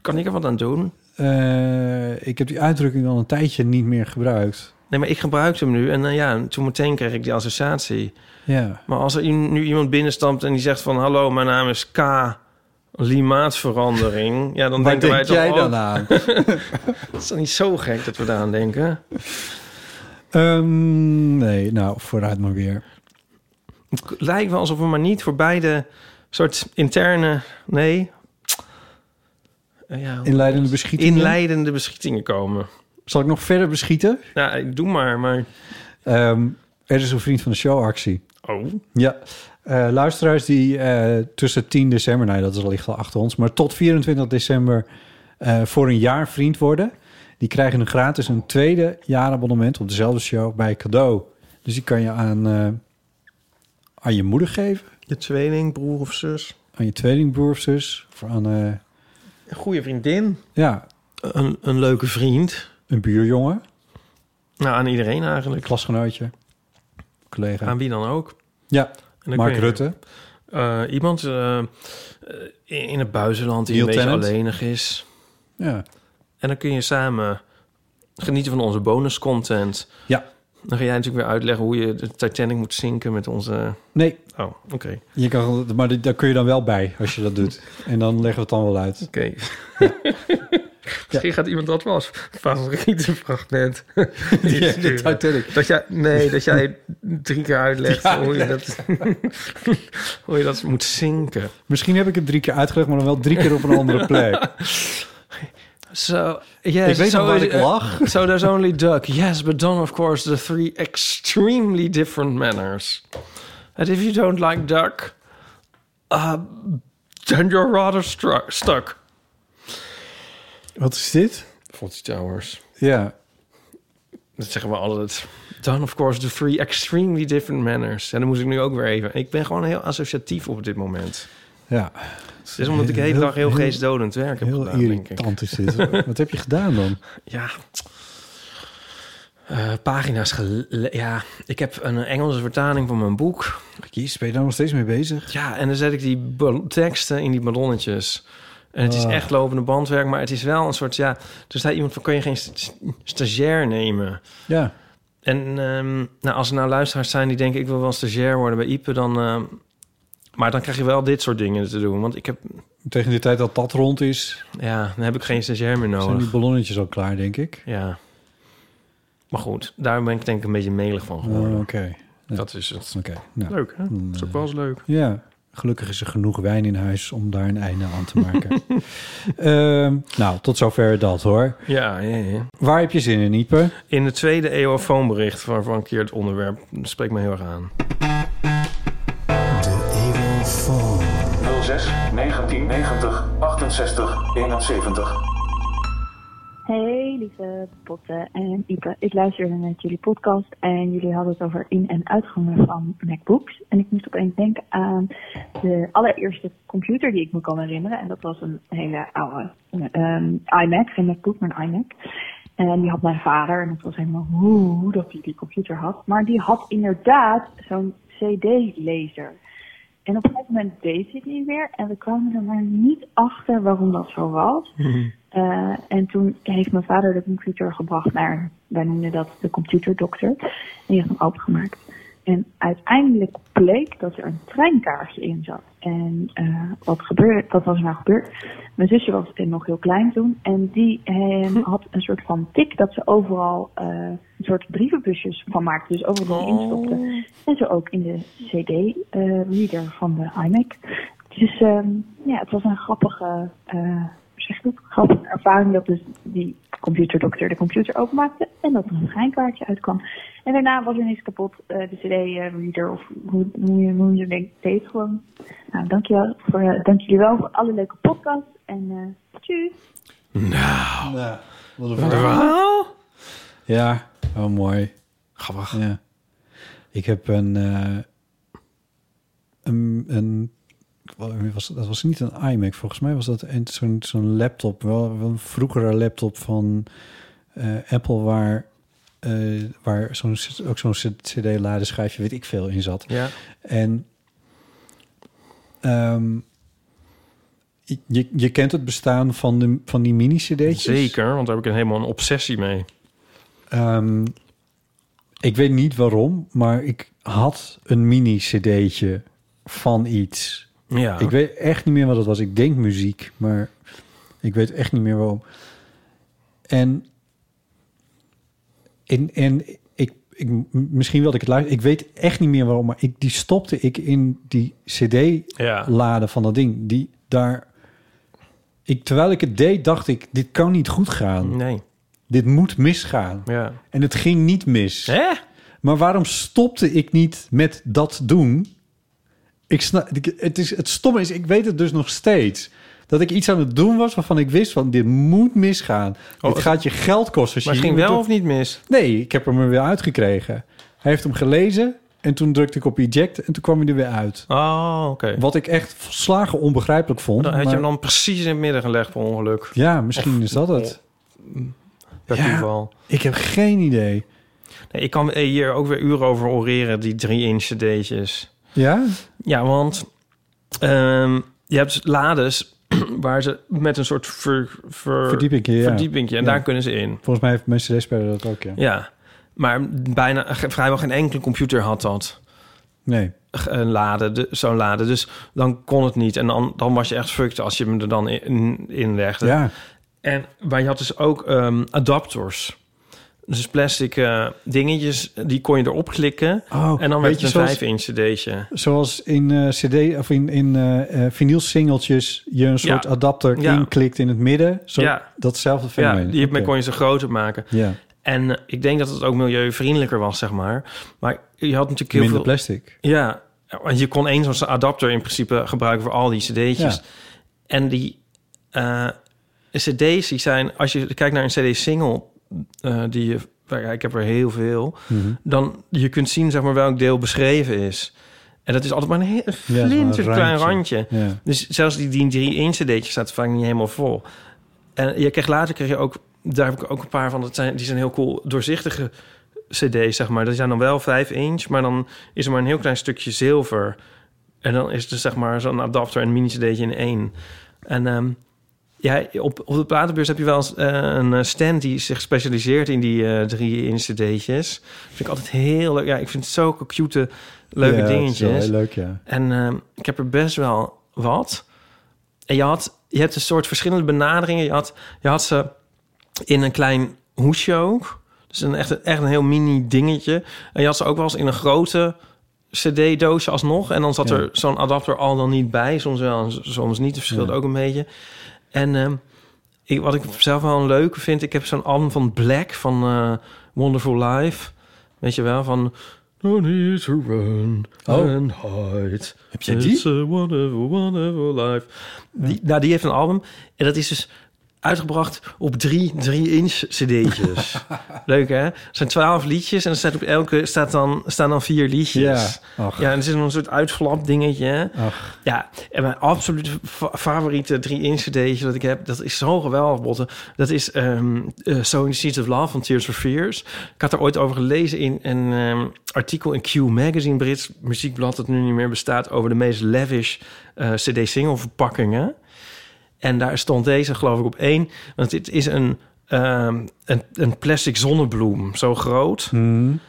Kan ik er wat aan doen?
Eh, ik heb die uitdrukking al een tijdje niet meer gebruikt.
Nee, maar ik gebruik hem nu. En nou ja, toen meteen kreeg ik die associatie.
Ja.
Maar als er i- nu iemand binnenstamt en die zegt van... Hallo, mijn naam is K. Klimaatverandering. Ja, dan
Waar
denken wij
denk
toch...
jij
oh,
dan aan?
Het is dan niet zo gek dat we daaraan denken.
Ehm, nee, nou, vooruit maar weer.
Het k- lijkt wel alsof we maar niet voorbij de soort interne... Nee. Eh, Ja, hoe-
Inleidende beschietingen.
inleidende beschietingen komen.
Zal ik nog verder beschieten?
Nou, doe maar, maar...
Ehm, er is een vriend van de show actie.
Oh.
Ja, Eh, luisteraars die eh, tussen 10 december, nou dat is ligt al achter ons, maar tot 24 december eh, voor een jaar vriend worden, die krijgen een gratis een tweede jaarabonnement op dezelfde show bij cadeau. Dus die kan je aan, eh, aan je moeder geven,
Je tweeling, broer of zus.
aan je tweelingbroer of zus, of aan eh,
Een goede vriendin.
ja,
Een, een leuke vriend.
een buurjongen,
Nou, aan iedereen eigenlijk.
klasgenootje, collega.
Aan wie dan ook.
ja,
En dan
Mark
kun je-
Rutte.
Eh, iemand eh, eh, in in het buitenland die
Neil
een beetje
Tennant.
alleenig is.
Ja.
En dan kun je samen genieten van onze bonuscontent.
Ja.
Dan ga jij natuurlijk weer uitleggen hoe je de Titanic moet zinken met onze...
Nee,
Oh, oké. Oké.
je kan, maar daar kun je dan wel bij als je dat doet. En dan leggen we het dan wel uit.
Misschien gaat iemand dat was. Favoriete fragment.
Ja, de Titanic.
Dat jij, nee, dat jij drie keer uitlegt
Ja,
hoe, je dat, hoe je dat moet zinken.
Misschien heb ik het drie keer uitgelegd, maar dan wel drie keer op een andere plek.
So, yes,
Ik weet
so
nog waar
is-
ik lag.
So there's only duck. Yes, but done, of course, the three extremely different manners. And if you don't like duck, uh, then you're rather stru- stuck.
Wat is dit?
Fawlty Towers.
Ja,
Dat zeggen we altijd. Done, of course, the three extremely different manners. En dan moet ik nu ook weer even. Ik ben gewoon heel associatief op dit moment.
ja.
Het is omdat ik de hele dag heel geestdodend werk heb
Heel
gedaan, denk ik.
irritant is dit. Wat heb je gedaan dan?
Ja. Eh, pagina's gele- Ja, ik heb een Engelse vertaling van mijn boek.
Jezus, ben je daar nog steeds mee bezig?
Ja, en dan zet ik die bal- teksten in die ballonnetjes. En het is
Ah.
echt lopende bandwerk, maar het is wel een soort... Ja, er zei iemand van, kun je geen st- stagiair nemen?
Ja.
En ehm, nou, als er nou luisteraars zijn die denken... ik wil wel stagiair worden bij Ipe, dan... ehm, maar dan krijg je wel dit soort dingen te doen. Want ik heb...
Tegen de tijd dat dat rond is,
Ja, dan heb ik geen stagiair meer
zijn
nodig.
die ballonnetjes al klaar, denk ik.
Ja. Maar goed, daar ben ik denk ik een beetje melig van
Oh,
geworden.
Oké.
Dat is het.
Oké. Nou,
Leuk, hè? Dat is ook wel eens leuk.
ja. Gelukkig is er genoeg wijn in huis om daar een einde aan te maken. Ehm, nou, tot zover dat hoor.
Ja, ja, ja.
Waar heb je zin in, Ipe?
In de tweede eeuwfoonbericht waarvan een keer het onderwerp spreekt me heel erg aan.
06 1990 68 71.
Hey lieve Potten en Ipe. Ik luisterde naar jullie podcast en jullie hadden het over in- en uitgangen van MacBooks. En ik moest opeens denken aan de allereerste computer die ik me kan herinneren. En dat was een hele oude ehm, iMac, geen MacBook, maar een iMac. En die had mijn vader en het was helemaal hoe dat hij die computer had. Maar die had inderdaad zo'n CD-lezer. En op een gegeven moment deed hij het niet meer en we kwamen er maar niet achter waarom dat zo was. Eh, en toen heeft mijn vader de computer gebracht naar, wij noemden dat de computerdokter. En die heeft hem opengemaakt.
En uiteindelijk bleek dat er een treinkaartje in zat. En eh, wat, gebeurde, wat was er nou gebeurd? Mijn zusje was eh, nog heel klein toen. En die eh,
Hm.
had een soort van tik dat ze overal eh, een soort brievenbusjes van maakte. Dus overal dingen
Oh.
instopte. En zo ook in de CD-reader van de iMac. Dus ehm, ja, het was een grappige, eh zeg ik het, grappige ervaring dat dus die computerdokter de computer openmaakte en dat er een schijnkaartje uitkwam. En daarna was er niks kapot, eh, de CD-reader of hoe, hoe, je- hoe je denkt, deed gewoon. Nou, dankjewel voor, eh, dank jullie wel voor alle leuke podcasts en eh tjus!
Nou. Wat een verhaal. Ja, oh mooi. Grappig. Ja. Ik heb een, eh, een, een wat was, dat was niet een iMac, volgens mij was dat een- zo'n zo'n laptop, wel, wel een vroegere laptop van eh, Apple waar, eh, waar zo'n, ook zo'n CD-ladeschijfje, weet ik veel, in zat.
Ja.
En ehm, je, je kent het bestaan van, de, van die mini-cd'tjes.
Zeker, want daar heb ik een helemaal een obsessie mee.
Ehm, ik weet niet waarom, maar ik had een mini-cd'tje van iets.
Ja.
Ik weet echt niet meer wat het was. Ik denk muziek, maar ik weet echt niet meer waarom. En, en, en ik, ik, m- misschien wilde ik het luisteren. Ik weet echt niet meer waarom, maar ik, die stopte ik in die
Ja.
cd-laden van dat ding. Die daar... Ik, terwijl ik het deed, dacht ik, dit kan niet goed gaan.
Nee.
Dit moet misgaan.
Ja.
En het ging niet mis. Maar waarom stopte ik niet met dat doen? Ik snap, ik- het, is, het stomme is, ik weet het dus nog steeds. Dat ik iets aan het doen was waarvan ik wist van dit moet misgaan. dit
Oh, het-
gaat je geld kosten. als
Maar
je
het ging
hier
wel
doet.
of niet mis?
Nee, ik heb hem er weer uitgekregen. Hij heeft hem gelezen en toen drukte ik op eject en toen kwam hij er weer uit.
Oh, oké.
Wat ik echt volslagen onbegrijpelijk vond.
Dan had je
maar-
hem dan precies in het midden gelegd per ongeluk.
Ja, misschien is dat het.
Per
Ja,
toeval.
Ik heb geen idee.
Nee, ik kan eh, hier ook weer uren over oreren, die drie inch cd'tjes.
Ja?
Ja, want ehm, je hebt lades waar ze met een soort ver, ver-
Verdiepingje, ja.
verdiepingje, en
Ja.
daar kunnen ze in.
Volgens mij heeft mijn cd-speler dat ook, ja.
Ja, maar bijna, ge- vrijwel geen enkele computer had dat.
Nee.
G- Een lade, de- zo'n lade. Dus dan kon het niet. En dan, dan was je echt fucked als je hem er dan in, in legde.
Ja.
En, maar je had dus ook ehm, adapters. Dus plastic eh, dingetjes, die kon je erop klikken.
Oh,
en dan
weet
werd
je,
het een
zoals-
5-inch cd'tje.
Zoals in eh, CD of in, in eh eh, vinylsingeltjes je een soort
Ja.
adapter
Ja.
inklikt in het midden. Zo,
Ja.
Datzelfde
Ja,
fenomeen.
die
Oké.
kon je ze groter maken.
Ja.
En eh, ik denk dat het ook milieuvriendelijker was, zeg maar. Maar je had natuurlijk heel
Minder
veel...
plastic.
Ja, want je kon één zo'n adapter in principe gebruiken voor al die cd'tjes.
Ja.
En die eh, cd's die zijn... Als je kijkt naar een cd-single, eh, die je... nou ja, Ik heb er heel veel.
Mhm.
Dan je kunt zien zeg maar, welk deel beschreven is. En dat is altijd maar een heel
maar een
flinterklein
randje.
randje.
Ja.
Dus zelfs die, die drie inch cd'tjes staat vaak niet helemaal vol. En je kreeg, later kreeg je ook... Daar heb ik ook een paar van. Dat zijn, die zijn heel cool doorzichtige cd's, zeg maar. Die zijn dan wel 5 inch, maar dan is er maar een heel klein stukje zilver. En dan is het dus, zeg maar zo'n adapter en een mini cd'tje in één. En ehm, ja, op, op de platenbeurs heb je wel eens eh, een eh, stand die zich specialiseert in die eh, drie inch cd'tjes. Vind ik altijd heel leuk. Ja, ik vind het zulke cute, leuke
Ja, het is wel
dingetjes.
heel leuk, ja.
En ehm, ik heb er best wel wat. En je had, je hebt een soort verschillende benaderingen. Je had, je had ze in een klein hoesje ook. Dus een, echt, een, echt een heel mini dingetje. En je had ze ook wel eens in een grote cd-doosje alsnog. En dan zat
Ja.
er zo'n adapter al dan niet bij. Soms wel, en s- soms niet. Het verschilt
Ja.
ook een beetje. En ehm, ik, wat ik zelf wel een leuke vind... Ik heb zo'n album van Black van eh, Wonderful Life. Weet je wel, van... No need to run
Oh.
and hide.
Heb jij die?
It's a wonderful, wonderful life. Die, nou, die heeft een album. En dat is dus uitgebracht op drie 3-inch cd'tjes. Leuk, hè? Er zijn twaalf liedjes en er staat op elke staat dan, staan dan vier liedjes.
Ja, ach.
ja en er zit een soort uitflap dingetje. hè?
Ach.
Ja, en mijn absolute fa- favoriete 3-inch cd'tje dat ik heb... dat is zo geweldig, Botte. Dat is ehm eh, So in the Seeds of Love van Tears for Fears. Ik had er ooit over gelezen in een ehm, artikel in Q Magazine... Brits muziekblad dat nu niet meer bestaat... over de meest lavish cd-single verpakkingen. En daar stond deze, geloof ik, op één. Want dit is een, ehm, een, een plastic zonnebloem, zo groot. En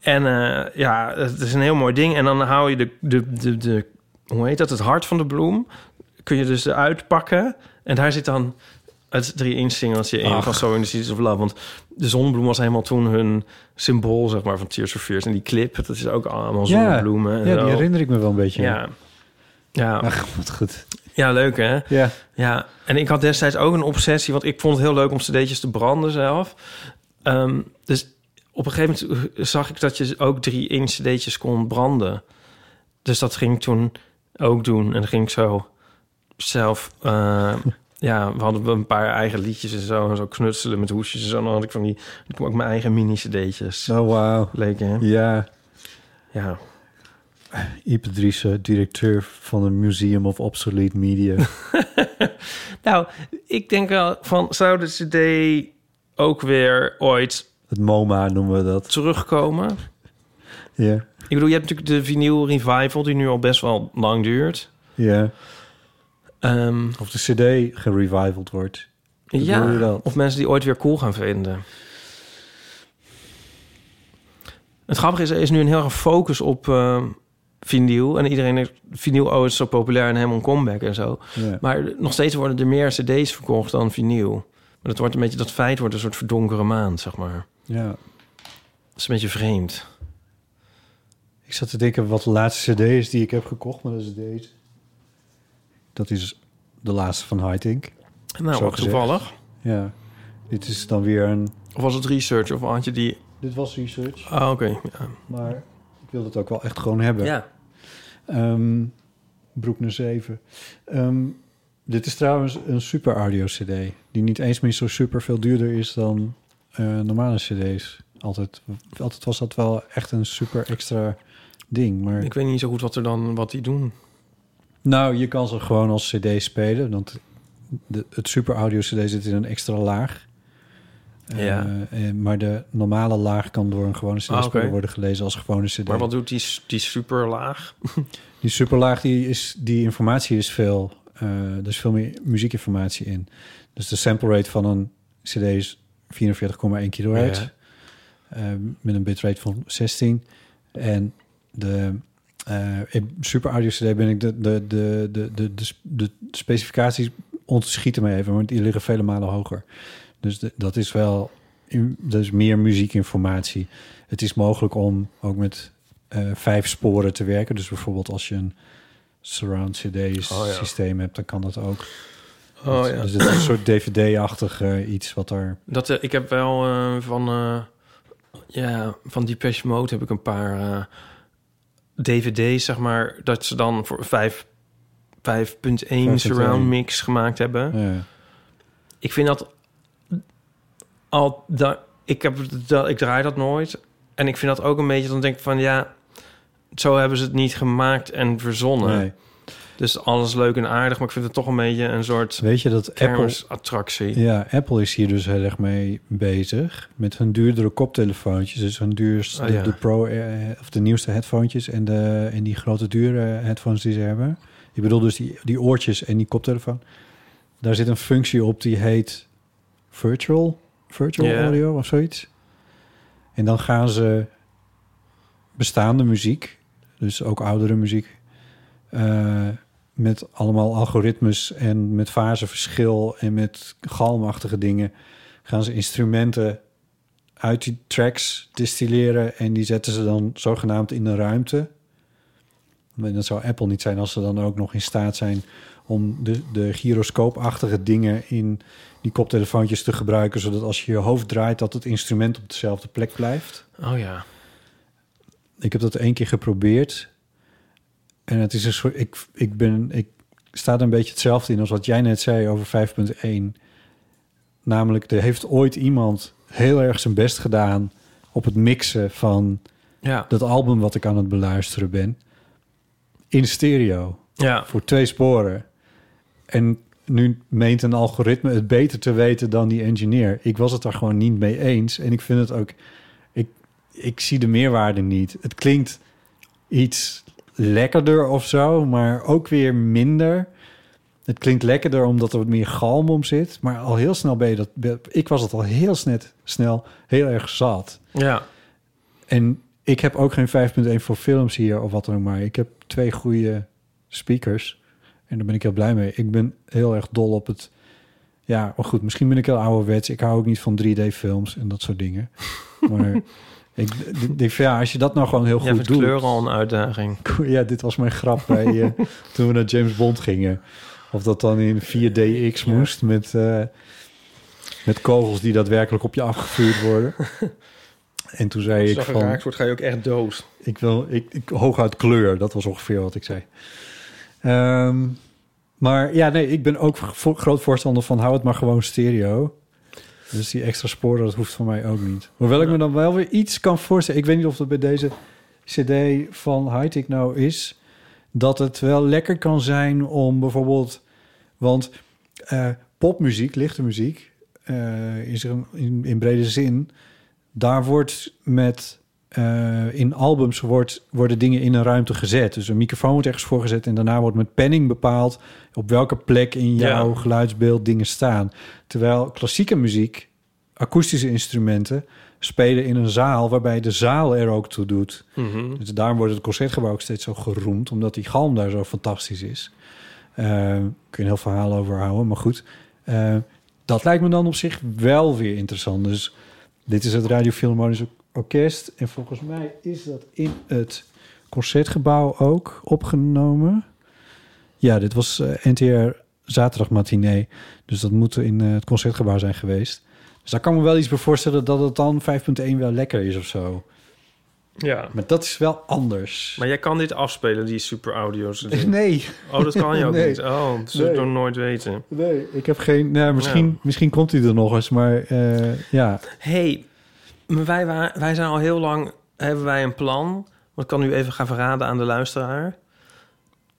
eh, ja, het is een heel mooi ding. En dan hou je de, de, de, de, hoe heet dat, het hart van de bloem. Kun je dus eruit pakken. En daar zit dan het drie inch singeltje in
Ach.
van So in the Seas of Love. Want de zonnebloem was helemaal toen hun symbool, zeg maar, van Tears for Fears. En die clip, dat is ook allemaal zonnebloemen. en
ja, die
zo.
herinner ik me wel een beetje.
Ja. Ja.
Ach, wat goed.
Ja, leuk hè?
Ja.
ja. En ik had destijds ook een obsessie, want ik vond het heel leuk om cd'tjes te branden zelf. Ehm, dus op een gegeven moment zag ik dat je ook drie inch cd'tjes kon branden. Dus dat ging ik toen ook doen. En dan ging ik zo zelf... eh, ja, we hadden wel een paar eigen liedjes en zo. En zo knutselen met hoesjes en zo. En dan had ik van die... Ik ook mijn eigen mini cd'tjes.
Oh, wauw.
Leuk hè?
Ja.
Ja.
Ipe Driessen, directeur van het Museum of Obsolete Media.
Nou, ik denk wel van... Zou de cd ook weer ooit
het MoMA noemen we dat.
terugkomen?
Ja,
Ik bedoel, je hebt natuurlijk de vinyl revival... die nu al best wel lang duurt.
ja.
Ehm,
Of de cd gerevivald wordt. Wat bedoel je
ja,
dan?
of mensen die ooit weer cool gaan vinden. Het grappige is, er is nu een heel erg focus op eh, vinyl. En iedereen heeft vinyl, oh, het is zo populair en helemaal een comeback en zo.
Ja.
Maar nog steeds worden er meer cd's verkocht dan vinyl. Maar dat, wordt een beetje, dat feit wordt een soort verdonkere maand, zeg maar.
Ja.
Dat is een beetje vreemd.
Ik zat te denken wat de laatste cd is die ik heb gekocht, maar dat is deze. Dat is de laatste van Hightink.
Nou,
zo
wat
gezegd.
toevallig.
Ja. Dit is dan weer een...
Of was het research? Of had je die...
Dit was research.
Ah, oké. ja.
Maar ik wil het ook wel echt gewoon hebben.
Ja.
Ehm, Broekner 7. Ehm, dit is trouwens een super audio cd. Die niet eens meer zo super veel duurder is dan eh, normale cd's. Altijd, altijd was dat wel echt een super extra ding. Maar
Ik weet niet zo goed wat, er dan, wat die doen.
nou, je kan ze gewoon als cd spelen. Want de, het super audio cd zit in een extra laag. Eh,
Ja.
eh, maar de normale laag kan door een gewone
Ah,
cd-speler
oké.
worden gelezen als gewone cd.
Maar wat doet die, die superlaag?
Die superlaag, die, is, die informatie is veel... eh, er is veel meer muziekinformatie in. Dus de sample rate van een cd is 44,1 kilohertz.
Ja.
eh, met een bitrate van 16. En de eh, in super audio cd ben ik de, de, de, de, de, de, sp- de specificaties ontschieten me even... want die liggen vele malen hoger. Dus de- dat is wel... Dat is meer muziekinformatie. Het is mogelijk om ook met eh, vijf sporen te werken. Dus bijvoorbeeld als je een surround
Oh ja.
CD-systeem hebt, dan kan dat ook.
Oh
Dus-
ja.
Dus het is een soort DVD-achtig eh, iets wat er...
Dat, eh, ik heb wel eh, van, eh ja, van Depeche Mode heb ik een paar eh, dvd's, zeg maar... dat ze dan voor 5, 5.1 surround mix gemaakt hebben.
Ja.
Ik vind dat... Al, da, ik, heb, dat, ik draai dat nooit. En ik vind dat ook een beetje... dan denk ik van, ja, zo hebben ze het niet gemaakt en verzonnen.
Nee.
Dus alles leuk en aardig, maar ik vind het toch een beetje een soort...
Weet je dat Apple...
kermisattractie.
Ja, Apple is hier dus heel erg mee bezig. Met hun duurdere koptelefoontjes. Dus hun duurste,
Ah,
de-
ja.
de, pro, eh, of de nieuwste headfoontjes en, de, en die grote dure headphones die ze hebben. Ik bedoel dus die, die oortjes en die koptelefoon. Daar zit een functie op die heet virtual, virtual
Ja.
audio of zoiets. En dan gaan ze bestaande muziek, dus ook oudere muziek, eh, met allemaal algoritmes en met faseverschil en met galmachtige dingen, gaan ze instrumenten uit die tracks distilleren en die zetten ze dan zogenaamd in de ruimte. En dat zou Apple niet zijn als ze dan ook nog in staat zijn om de, de gyroscoopachtige dingen in die koptelefoontjes te gebruiken, zodat als je je hoofd draait dat het instrument op dezelfde plek blijft.
Oh ja.
Ik heb dat één keer geprobeerd. En het is een soort. Ik, ik, ben, ik sta er een beetje hetzelfde in als wat jij net zei over 5.1. Namelijk, er heeft ooit iemand heel erg zijn best gedaan op het mixen van
Ja.
dat album wat ik aan het beluisteren ben. In stereo.
Ja.
Voor twee sporen. En nu meent een algoritme het beter te weten dan die engineer. Ik was het daar gewoon niet mee eens. En ik vind het ook. Ik, ik zie de meerwaarde niet. Het klinkt iets lekkerder of zo, maar ook weer minder. Het klinkt lekkerder omdat er wat meer galm om zit. Maar al heel snel ben je dat. Ik was het al heel snet, snel heel erg zat.
Ja.
En ik heb ook geen 5.1 voor films hier of wat dan ook, maar ik heb twee goede speakers. En daar ben ik heel blij mee. Ik ben heel erg dol op het. Ja, maar goed, misschien ben ik heel ouderwets. Ik hou ook niet van 3D-films en dat soort dingen. Maar ik d- denk, van, ja, als je dat nou gewoon heel
Jij
goed
vindt
doet.
kleur al een uitdaging.
Ja, dit was mijn grap bij, eh, toen we naar James Bond gingen. Of dat dan in 4DX moest met, eh, met kogels die daadwerkelijk op je afgevuurd worden. En toen zei
Als je
ik
dan
van...
geraakt wordt, ga je ook echt dood.
Ik wil ik, ik, hooguit kleur, dat was ongeveer wat ik zei. Ehm, maar ja, nee, ik ben ook vo- groot voorstander van hou het maar gewoon stereo. Dus die extra sporen, dat hoeft voor mij ook niet. Hoewel ik me dan wel weer iets kan voorstellen. Ik weet niet of dat bij deze CD van Hightech nou is. Dat het wel lekker kan zijn om bijvoorbeeld. Want eh, popmuziek, lichte muziek, eh, is er een- in, in brede zin. Daar wordt met. eh, in albums wordt, worden dingen in een ruimte gezet. Dus een microfoon wordt ergens voorgezet. En daarna wordt met penning bepaald. op welke plek in
Ja.
jouw geluidsbeeld dingen staan. Terwijl klassieke muziek, akoestische instrumenten, spelen in een zaal waarbij de zaal er ook toe doet.
Mhm.
Dus daarom wordt het concertgebouw ook steeds zo geroemd, omdat die galm daar zo fantastisch is. Eh, kun je een heel verhaal over houden, maar goed. Eh, dat lijkt me dan op zich wel weer interessant. Dus dit is het Radio Philharmonisch Orkest. En volgens mij is dat in het concertgebouw ook opgenomen. Ja, dit was eh, NTR zaterdagmatinee. Dus dat moet in eh, het concertgebouw zijn geweest. Dus daar kan ik me wel iets bij voorstellen dat het dan 5.1 wel lekker is of zo.
Ja.
Maar dat is wel anders.
Maar jij kan dit afspelen, die super audio's.
Nee.
Oh, dat kan je ook
Nee.
niet. Oh, dat zullen we
Nee.
toch nooit weten.
Nee, ik heb geen... Nou, misschien,
Ja.
misschien komt hij er nog eens, maar eh, ja.
hey, maar wij, wa- wij zijn al heel lang... Hebben wij een plan? Want ik kan nu even gaan verraden aan de luisteraar.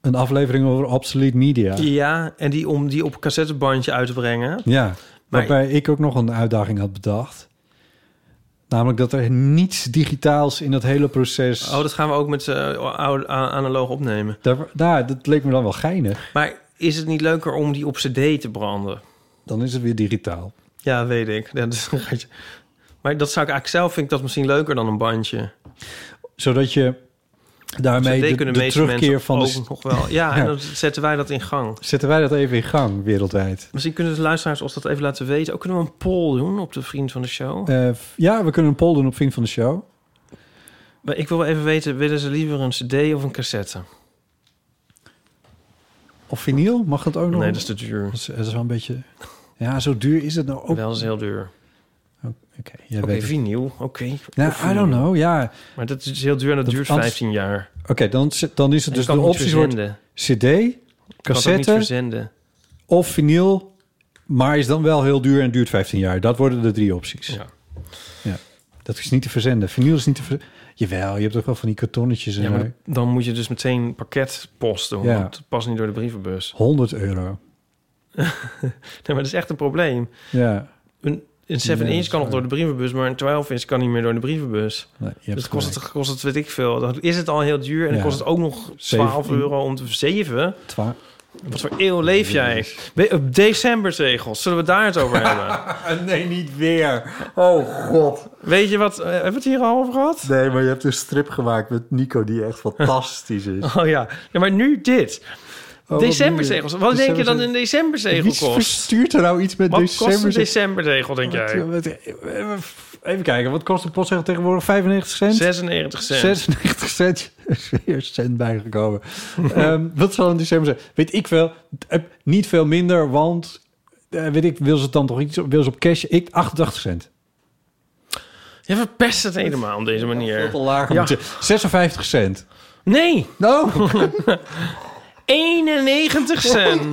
Een aflevering over Obsolete Media.
Ja, en die om die op een cassettebandje uit te brengen.
Ja,
Maar-
waarbij ik ook nog een uitdaging had bedacht. Namelijk dat er niets digitaals in dat hele proces...
Oh, dat gaan we ook met eh, oude- a- analoog opnemen.
Daar, daar, dat leek me dan wel geinig.
Maar is het niet leuker om die op cd te branden?
Dan is het weer digitaal.
Ja, weet ik. Dat is een geitje. maar dat zou ik eigenlijk zelf... vind ik dat misschien leuker dan een bandje.
Zodat je daarmee
CD
de,
kunnen
de
meeste
terugkeer
mensen
van de...
ook
s-
nog wel. Ja, en dan zetten wij dat in gang.
Zetten wij dat even in gang wereldwijd.
Misschien kunnen de luisteraars ons dat even laten weten. Ook kunnen we een poll doen op de vriend van de show.
Eh, f- ja, we kunnen een poll doen op Vriend van de Show.
Maar ik wil wel even weten, willen ze liever een cd of een cassette?
Of vinyl, mag dat ook nog?
Nee, dat is te duur.
Dat is, dat is wel een beetje... Ja, zo duur is het nou ook.
Wel is heel duur.
Oké, jij
Oké,
weet het.
vinyl. Oké.
Nou,
Of
I
vinyl.
don't know, ja.
Maar dat is dus heel duur en dat,
Dat
duurt
anders-
15 jaar.
Oké, dan, zit- dan is het
En
dus
kan
de
niet
opties wordt
verzenden.
cd,
Kan het ook niet
cassette
verzenden.
of vinyl. Maar is dan wel heel duur en duurt 15 jaar. Dat worden de drie opties.
Ja.
ja. Dat is niet te verzenden. Vinyl is niet te verzenden. Jawel, je hebt toch wel van die kartonnetjes en
Ja, maar
zo.
dat- dan moet je dus meteen een pakket posten.
Ja.
Want het past niet door de brievenbus.
100 euro.
Nee, maar dat is echt een probleem.
Ja.
Een, een 7
Nee, dat
inch
is
kan nog
waar.
door de brievenbus, maar een 12 inch kan niet meer door de brievenbus.
Nee, je hebt
dus kost het, kost het, weet ik veel. Dan is het al heel duur en
Ja.
dan kost het ook nog 12
Zeven-
euro om te zeven.
Twa-
Wat voor eeuw leef jij? We- Op decembertegels, zullen we het daar het over hebben?
nee, niet weer. Oh god.
Weet je wat, eh, hebben we het hier al over gehad?
Nee, maar je hebt een strip gemaakt met Nico die echt fantastisch is. Oh,
Oh ja, ja maar nu dit.
wat
decembertegels.
nu?
Wat denk je dan een
Decembertegels.
decembertegel
Wie
kost?
verstuurt er nou iets met
Wat kost een
december?
decembertegel, denk jij?
Wat- Even kijken, wat kost een postzegel tegenwoordig? 95 cent?
96 cent.
96 cent. Er is weer een cent bijgekomen. Ehm, wat zal in december zijn? Weet ik wel. Eh, niet veel minder, want... eh, weet ik, wil ze het dan toch iets op, wil ze op cash? Ik, 88 cent.
Je verpest het helemaal op deze manier. Veel te
laag. Ja. 56 cent. Nou?
Nee.
No.
91 cent.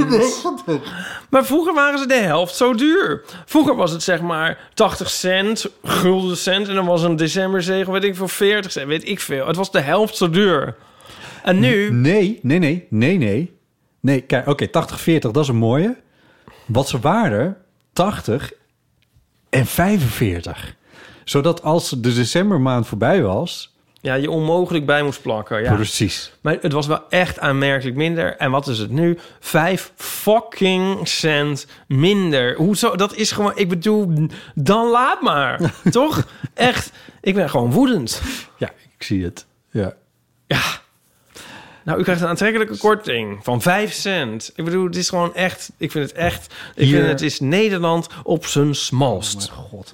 Maar vroeger waren ze de helft zo duur. Vroeger was het zeg maar 80 cent, gulden cent. En dan was een decemberzegel, weet ik veel, 40 cent, weet ik veel. Het was de helft zo duur. En nu?
Nee, nee, nee, nee, nee. Nee, kijk, oké, 80-40, dat is een mooie. Wat ze waren, 80 en 45. Zodat als de decembermaand voorbij was...
Ja, je onmogelijk bij moest plakken. Ja.
Precies.
Maar het was wel echt aanmerkelijk minder. En wat is het nu? Vijf fucking cent minder. Hoezo? Dat is gewoon... Ik bedoel, dan laat maar. toch? Echt. Ik ben gewoon woedend.
Ja, ik Ik zie het. Ja.
Nou, u krijgt een aantrekkelijke korting van 5 cent. Ik bedoel, het is gewoon echt... Ik vind het echt... Ik
Hier-
vind het is Nederland op zijn smalst.
Oh mijn god.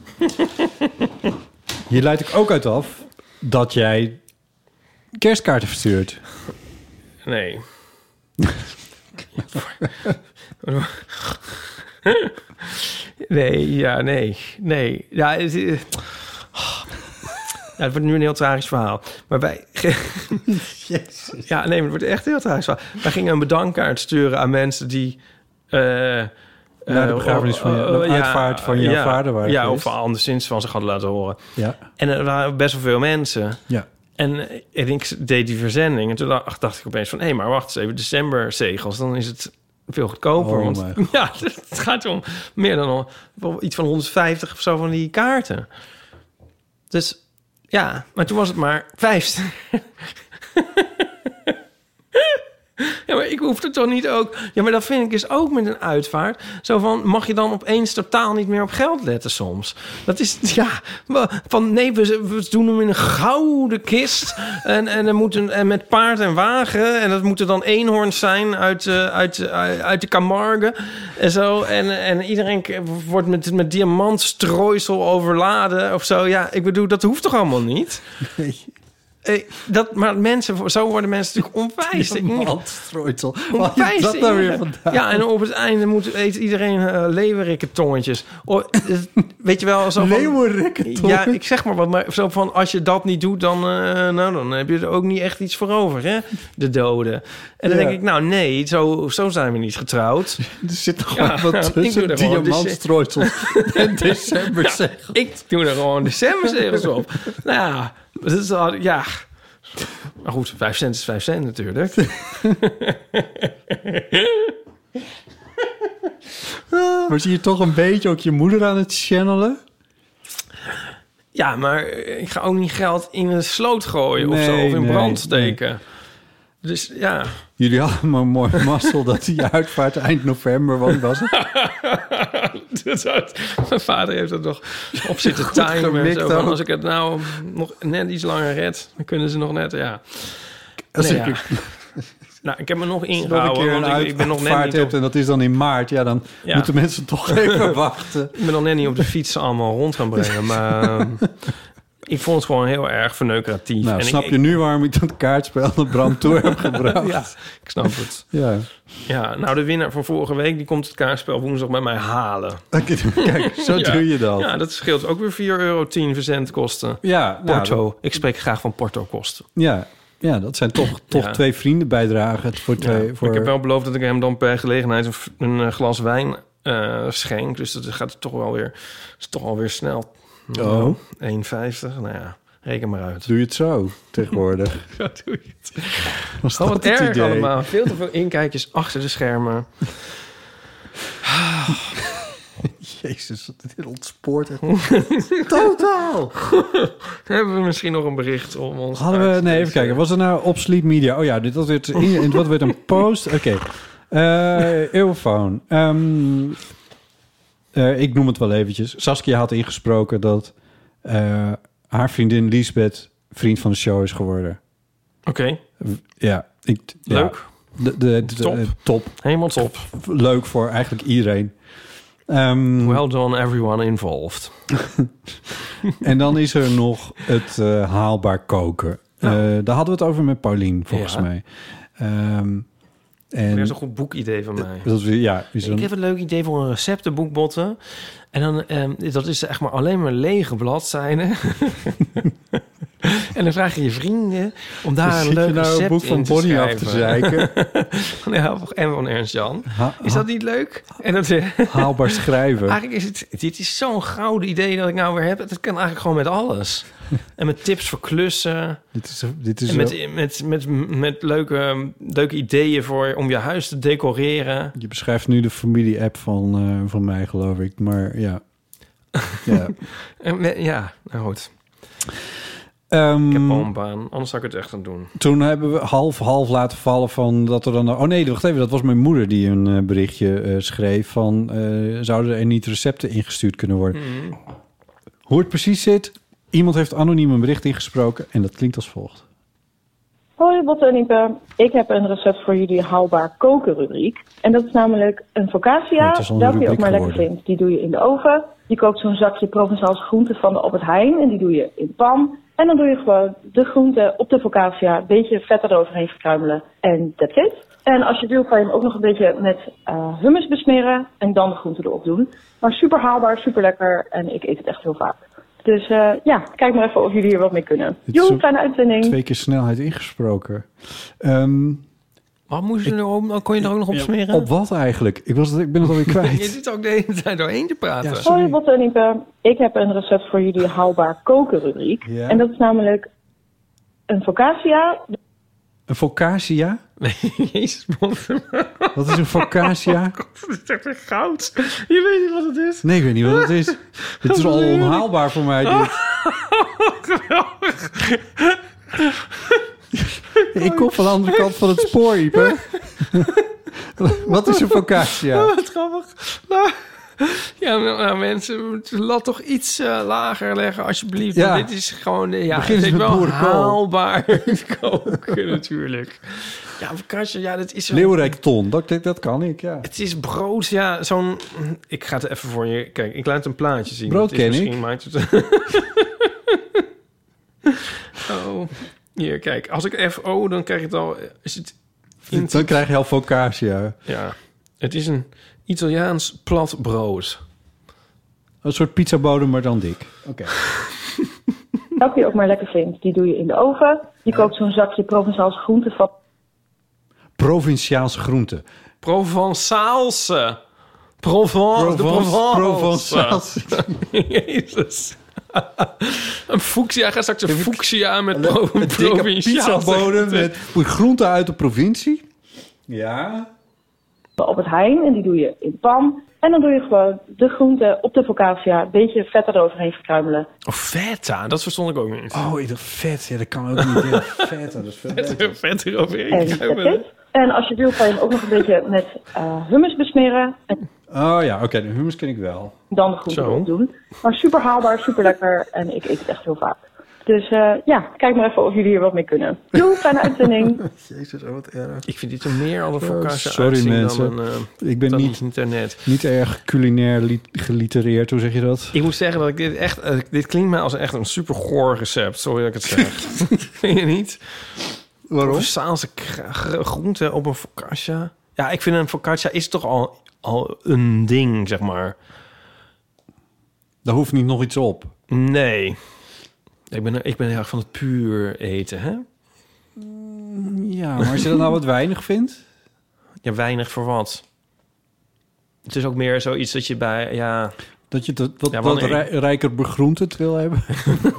Hier leid ik ook uit af dat jij kerstkaarten verstuurt.
Nee. nee, ja, nee. Nee. Ja, het, eh, ja, het wordt nu een heel tragisch verhaal. Maar wij... Ja, nee, maar het wordt echt een heel tragisch verhaal. Wij gingen een bedankkaart sturen aan mensen die... eh
Naar de
eh,
begrafenis van je-
eh,
de uitvaart van jouw
ja,
vader waren
Ja,
geweest.
of anderszins van zich hadden laten horen.
Ja.
En er waren best wel veel mensen.
Ja.
En, eh, en ik deed die verzending. En toen dacht, dacht ik opeens van... hé, maar wacht eens even, december-zegels. Dan is het veel goedkoper.
Oh
want
mijn
ja, het gaat om meer dan om- om iets van 150 of zo van die kaarten. Dus ja, maar toen was het maar vijf. Ja, maar ik hoefde toch niet ook... Ja, maar dat vind ik is ook met een uitvaart. Zo van, mag je dan opeens totaal niet meer op geld letten soms? Dat is, ja... we- Van, nee, we, we doen hem in een gouden kist. En, en, er moet een, en met paard en wagen. En dat moeten dan eenhoorns zijn uit, eh, uit, eh, uit de Camargue. En zo. En, en iedereen k- wordt met, met diamantstrooisel overladen of zo. Ja, ik bedoel, dat hoeft toch allemaal niet? Eh, dat, maar mensen, zo worden mensen natuurlijk onwijs. Ik-
Diamantstrooisel. Waar
Onwijs,
heb je dat nou weer
jongen.
vandaan?
Ja, en op het einde moet, eet iedereen eh leeuwerikkentongetjes. O, eh, weet je wel, zo van... Ja, ik zeg maar wat, maar zo van... als je dat niet doet, dan, eh, nou, dan heb je er ook niet echt iets voor over, hè? De doden. En dan
Ja.
denk ik, nou nee, zo, zo zijn we niet getrouwd.
Er zit nog wat tussen. Diamantstrooisel en december zeg.
Ik doe er gewoon decemberzegels op. nou ja, dat is al, ja... Maar goed, vijf cent is vijf cent natuurlijk.
Was je hier toch een beetje ook je moeder aan het channelen?
Ja, maar ik ga ook niet geld in een sloot gooien of
Nee,
zo. Of in
nee,
brand steken. Dus ja.
Jullie hadden maar mooi mazzel dat die uitvaart eind november was. was het?
Dat had- mijn vader heeft dat nog op zitten
Goed
timen. en
gemikt
Zo, van,
ook.
als ik het nou nog net iets langer red, dan kunnen ze nog net, ja.
Als
Nee,
ik-
ja. Nou, ik heb me nog
Als je nog een keer
ingehouden,
een
want ik, ik ben nog net
uitvaart
niet op,
hebt en dat is dan in maart, ja, dan
Ja.
moeten mensen toch even wachten.
ik ben nog net niet op de fiets allemaal rond gaan brengen. Maar ehm, ik vond het gewoon heel erg verneukeratief.
Nou,
En ik-
snap
ik-
je nu waarom ik dat kaartspel naar Bram toe heb gebracht?
Ja, ik snap het.
Ja.
Ja, nou de winnaar van vorige week, die komt het kaartspel woensdag bij mij halen.
Kijk, zo
Ja.
doe je dat.
Ja, dat scheelt ook weer 4,10 euro verzendkosten.
Ja, nou,
Porto. Ik spreek graag van porto-kosten.
Ja, ja dat zijn toch, toch
Ja.
twee vrienden bijdragen voor twee.
Ja,
voor...
Ik heb wel beloofd dat ik hem dan per gelegenheid een, f- een, eh, glas wijn eh, schenk. Dus dat gaat toch wel weer, is toch alweer snel. Nou, 1,50. Nou ja, reken maar uit.
Oh. Doe je het zo tegenwoordig?
Zo doe je het.
Was
Oh,
dat
wat
het
erg
idee?
allemaal. Veel te veel inkijkjes achter de schermen.
Jezus, dit ontspoort echt. Totaal!
Hebben we misschien nog een bericht om ons... eh.
Hadden we, nee, even kijken. Was er nou op Sleep Media? Oh ja, dit was weer, het in, wat werd een post. Oké. Eh, Eeuwfoon. Ehm, eh, ik noem het wel eventjes. Saskia had ingesproken dat eh, haar vriendin Liesbeth vriend van de show is geworden.
Oké,
Ja, ik, ja.
Leuk.
De, de, de-
Top.
eh, top.
helemaal top.
Leuk voor eigenlijk iedereen. Ehm,
Well done everyone involved.
En dan is er nog het eh, haalbaar koken. Eh, daar hadden we het over met Paulien, volgens
Ja.
mij. Ehm, en
Dat is een goed boekidee van mij.
dat is, ja, is
Ik
een,
heb een leuk idee voor een receptenboek, Botten. En dan, ehm, dat is echt maar alleen maar lege bladzijden. en dan vraag je je vrienden om daar
Zit
een
je
leuk
nou een
recept
boek
in
van
te
Bonnie af te
schrijven. ja, en van Ernst Jan.
Ha-
Is dat niet leuk? En dat, eh,
haalbaar schrijven.
eigenlijk is het, dit is zo'n gouden idee dat ik nou weer heb. Dat kan eigenlijk gewoon met alles. En met tips voor klussen.
dit is, dit is
En
wel-
met, met, met, met leuke, leuke ideeën voor, om je huis te decoreren.
je beschrijft nu de familie-app van, eh, van mij, geloof ik. Maar ja. ja.
En me- ja, nou goed.
Ehm,
Ik heb al een baan, anders zou ik het echt aan doen.
toen hebben we half half laten vallen van dat er dan... Oh nee, wacht even, dat was mijn moeder die een eh, berichtje eh, schreef
Hmm.
van... eh, zouden er niet recepten ingestuurd kunnen worden? Hoe het precies zit, Iemand heeft anoniem een bericht ingesproken en dat klinkt als volgt.
Hoi Botte en Ipe. Ik heb een recept voor jullie haalbaar koken rubriek. En dat is namelijk een
Oh,
focaccia,
het is al een
welke je ook
rubriek
maar lekker
geworden.
vindt. Die doe je in de oven. Je koopt zo'n zakje Provençaals groenten van de Albert Heijn en die doe je in de pan. En dan doe je gewoon de groenten op de focaccia, een beetje vet eroverheen verkruimelen en that's it. En als je wil kan je hem ook nog een beetje met eh, hummus besmeren en dan de groenten erop doen. Maar super haalbaar, super lekker en ik eet het echt heel vaak. Dus eh, ja, kijk maar even of jullie hier wat mee kunnen.
Dit is
Joe,
een-
fijne uitzending.
Twee keer snelheid ingesproken. Ehm,
Wat moest je er om? Kon je er ook nog op smeren?
Op wat eigenlijk? Ik, was, het- ik ben het alweer
Je
kwijt.
zit ook de hele tijd doorheen te praten.
Hoi Botte en Ipe. Ik heb een recept voor jullie haalbaar koken rubriek.
Ja.
En dat is namelijk een focaccia.
Een focaccia?
Jezus,
Wat is een focaccia?
Dat is echt weer goud. Je weet niet wat het is.
Nee, ik weet niet wat het is. Dit is al
Heerlijk.
onhaalbaar voor mij. Dit. Ik kom van de andere kant van het spoor, Ipe. Wat is een focaccia?
Wat grappig. Nou, ja, nou, nou, mensen, laat toch iets eh, lager leggen, alsjeblieft.
Ja.
Dit is gewoon, eh, ja,
Begin
het
eens
is
met
wel
boerenkool.
haalbaar koken natuurlijk. Ja, focaccia, ja, dat is zo.
Leeuwrijk ton, dat, dat- dat kan ik, ja.
Het is brood, ja, zo'n... Ik ga het even voor je... Kijk, ik laat een plaatje zien.
Brood
Het is
ken ik.
misschien Maakt het... oh, hier, kijk. Als ik FO, dan krijg je het al... Is het
Dan krijg je al focaccia.
Ja, het is een Italiaans plat brood.
Een soort pizzabodem, maar dan dik.
Welke je ook maar lekker vindt. Die doe je in de oven. Je koopt zo'n zakje Provençaals groenten van.
Provinciaals groente.
Provençaalse. Provence, de
Provence-
Provence.
Provençaalse.
Jezus. Een fuchsia, gaat straks een fuchsia met pro,
Een dikke
provinciaal
pizzabodem
zeggen.
met groente uit de provincie. Ja.
Op het hein en die doe je in de pan. En dan doe je gewoon de groenten op de focaccia, een beetje vet eroverheen verkruimelen.
Oh, feta, dat verstond ik ook niet.
Oh, ik dacht vet. Ja, dat kan ook niet. Ja, feta, dat is veel beter.
Vet
En
eroverheen
that's
kruimelen.
it. En als je wil kan je hem ook nog een beetje met eh, hummus besmeren en
Oh ja, oké. de hummus ken ik wel.
dan de groenten
Zo.
erop doen. Maar super haalbaar, super lekker en ik eet het echt heel vaak. Dus eh, ja, kijk maar even of jullie hier wat mee kunnen. Doei, fijne uitzending.
Jezus, oh, wat erg. Ik vind dit er meer al een focaccia
Sorry
uitzien
mensen.
dan een... eh,
ik ben
dan
niet,
internet.
niet erg culinair li- gelitereerd. Hoe zeg je dat?
Ik moet zeggen dat ik dit echt... eh, dit klinkt mij als echt een super goor recept. Sorry dat ik het zeg. Vind je niet?
Waarom?
Provençaalse kra- gr- groente op een focaccia. Ja, ik vind een focaccia is toch al, al een ding, zeg maar.
Daar hoeft niet nog iets op.
Nee. Ik ben, ik ben heel erg van het puur eten, hè?
Ja, maar als je dat nou wat weinig vindt...
Ja, weinig voor wat. Het is ook meer zoiets dat je bij... Ja,
Dat je dat, wat,
Ja,
wat
wanneer-
rij- rijker begroentend wil hebben.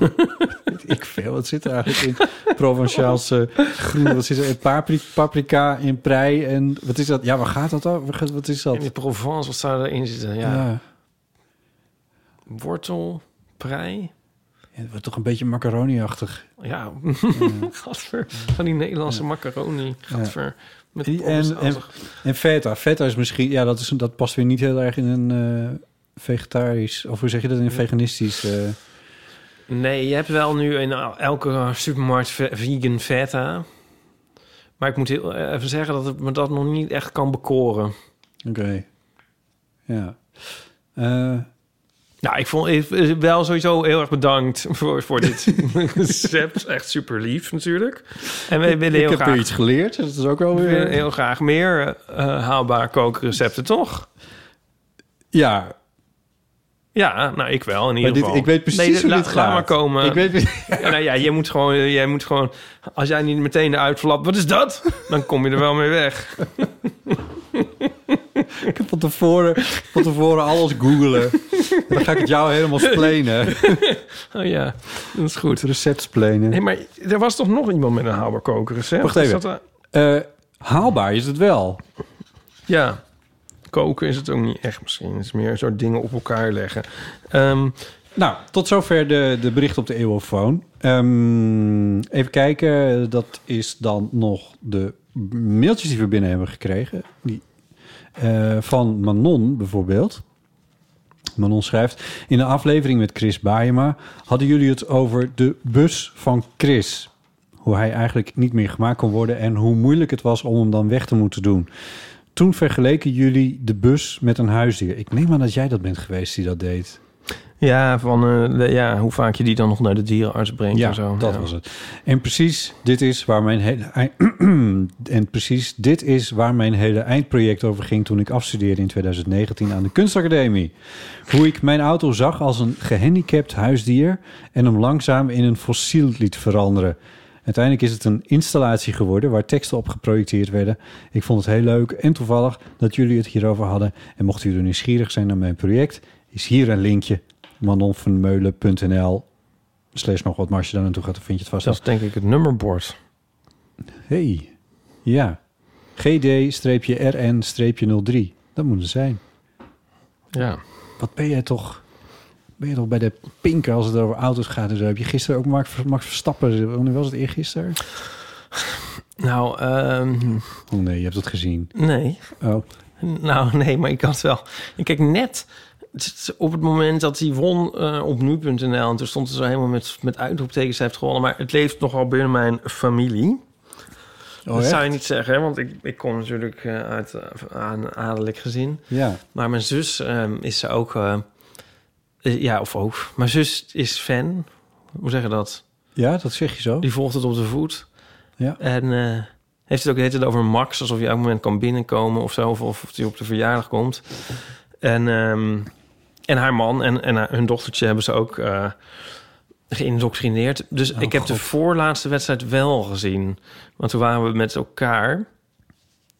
Weet ik veel. Wat zit er eigenlijk in Provençaalse groen? Wat zit er in Papri- paprika, in prei en... Wat is dat? Ja, waar gaat dat over? Wat- Wat is dat?
in de Provence, wat zou erin zitten? Ja.
Ja.
Wortel, prei.
Ja, het wordt toch een beetje macaroni-achtig.
Ja, gadver. Van die Nederlandse macaroni. Gadver. Met
En, en, en,
Provençaalse-
en feta. Feta is misschien... Ja, dat, is, een- dat past weer niet heel erg in een eh, vegetarisch... Of hoe zeg je dat? In een veganistisch... eh,
Nee, je hebt wel nu in
nou,
elke supermarkt ve- vegan feta. Maar ik moet heel even zeggen dat het me dat nog niet echt kan bekoren.
Oké. Ja. Eh,
Nou, ik vond ik- wel sowieso heel erg bedankt voor, voor dit recept. Echt super lief natuurlijk. En we willen heel
ik heb
graag...
weer iets geleerd. dus Dat is ook wel
we willen
weer...
heel graag meer eh, haalbaar kookrecepten, toch?
Ja,
Ja, nou, ik wel in ieder
Maar dit-
geval.
ik weet precies
nee,
hoe
la-
dit gaat.
Laat maar komen.
Ik weet-
ja, nou ja, jij moet, gewoon, jij moet gewoon... Als jij niet meteen eruit flapt, wat is dat? Dan kom je er wel mee weg.
Ik heb van tevoren, van tevoren alles googelen. En dan ga ik het jou helemaal splenen.
Oh ja, dat is goed.
Het recept splenen.
Nee, maar er was toch nog iemand met een haalbaar kookrecept?
Wacht
Is
even.
dat, eh,
Eh, haalbaar is het wel.
ja, koken is het ook niet echt misschien. Het is meer een soort dingen op elkaar leggen. Ehm,
Nou, tot zover de, de bericht op de eeuwofoon. Ehm, even kijken, dat is dan nog de mailtjes die we binnen hebben gekregen. Die, eh, van Manon bijvoorbeeld. Manon schrijft... In de aflevering met Chris Baayema hadden jullie het over de bus van Chris. Hoe hij eigenlijk niet meer gemaakt kon worden... en hoe moeilijk het was om hem dan weg te moeten doen. Toen vergeleken jullie de bus met een huisdier. Ik neem aan dat jij dat bent geweest die dat deed.
Ja, van, eh, de- ja, hoe vaak je die dan nog naar de dierenarts brengt
Ja,
en zo.
dat
Ja.
was het. En precies dit is waar mijn hele en precies dit is waar mijn hele eindproject over ging toen ik afstudeerde in 2019 aan de kunstacademie. Hoe ik mijn auto zag als een gehandicapt huisdier en hem langzaam in een fossiel liet veranderen. Uiteindelijk is het een installatie geworden waar teksten op geprojecteerd werden. Ik vond het heel leuk en toevallig dat jullie het hierover hadden. En mochten jullie nieuwsgierig zijn naar mijn project, is hier een linkje. manonvanmeulen.nl slash nog wat. Maar als je daar naartoe gaat, dan vind je het vast.
Dat is denk ik het nummerbord.
Hey, ja. GD-RN-03. Dat moet het zijn.
Ja.
Wat ben jij toch... Ben je toch bij de pinken als het over auto's gaat en zo? Heb je gisteren ook Max Max Verstappen... Wanneer was het eergisteren?
Nou, ehm
Oh nee, je hebt het gezien.
Nee.
Oh.
Nou, nee, maar ik had wel. Ik kijk net t- op het moment dat hij won eh, op nu.nl. En toen stond het zo helemaal met, met uitroeptekens. Hij heeft gewonnen. Maar het leeft nogal binnen mijn familie.
Oh,
dat
echt?
zou je niet zeggen, hè? want ik, ik kom natuurlijk eh, uit eh, aan adellijk gezin.
Ja.
Maar mijn zus ehm, is ook... eh, eh, ja, of ook. Mijn zus is fan. Hoe zeg je dat?
Ja, dat zeg je zo.
Die volgt het op de voet.
Ja.
En eh, heeft het ook de hele tijd over Max, alsof je elk moment kan binnenkomen of zo, of, of die op de verjaardag komt. En, ehm, en haar man en, en haar- hun dochtertje hebben ze ook eh geïndoctrineerd. Dus
Oh,
ik heb de voorlaatste wedstrijd wel gezien. Want toen waren we met elkaar.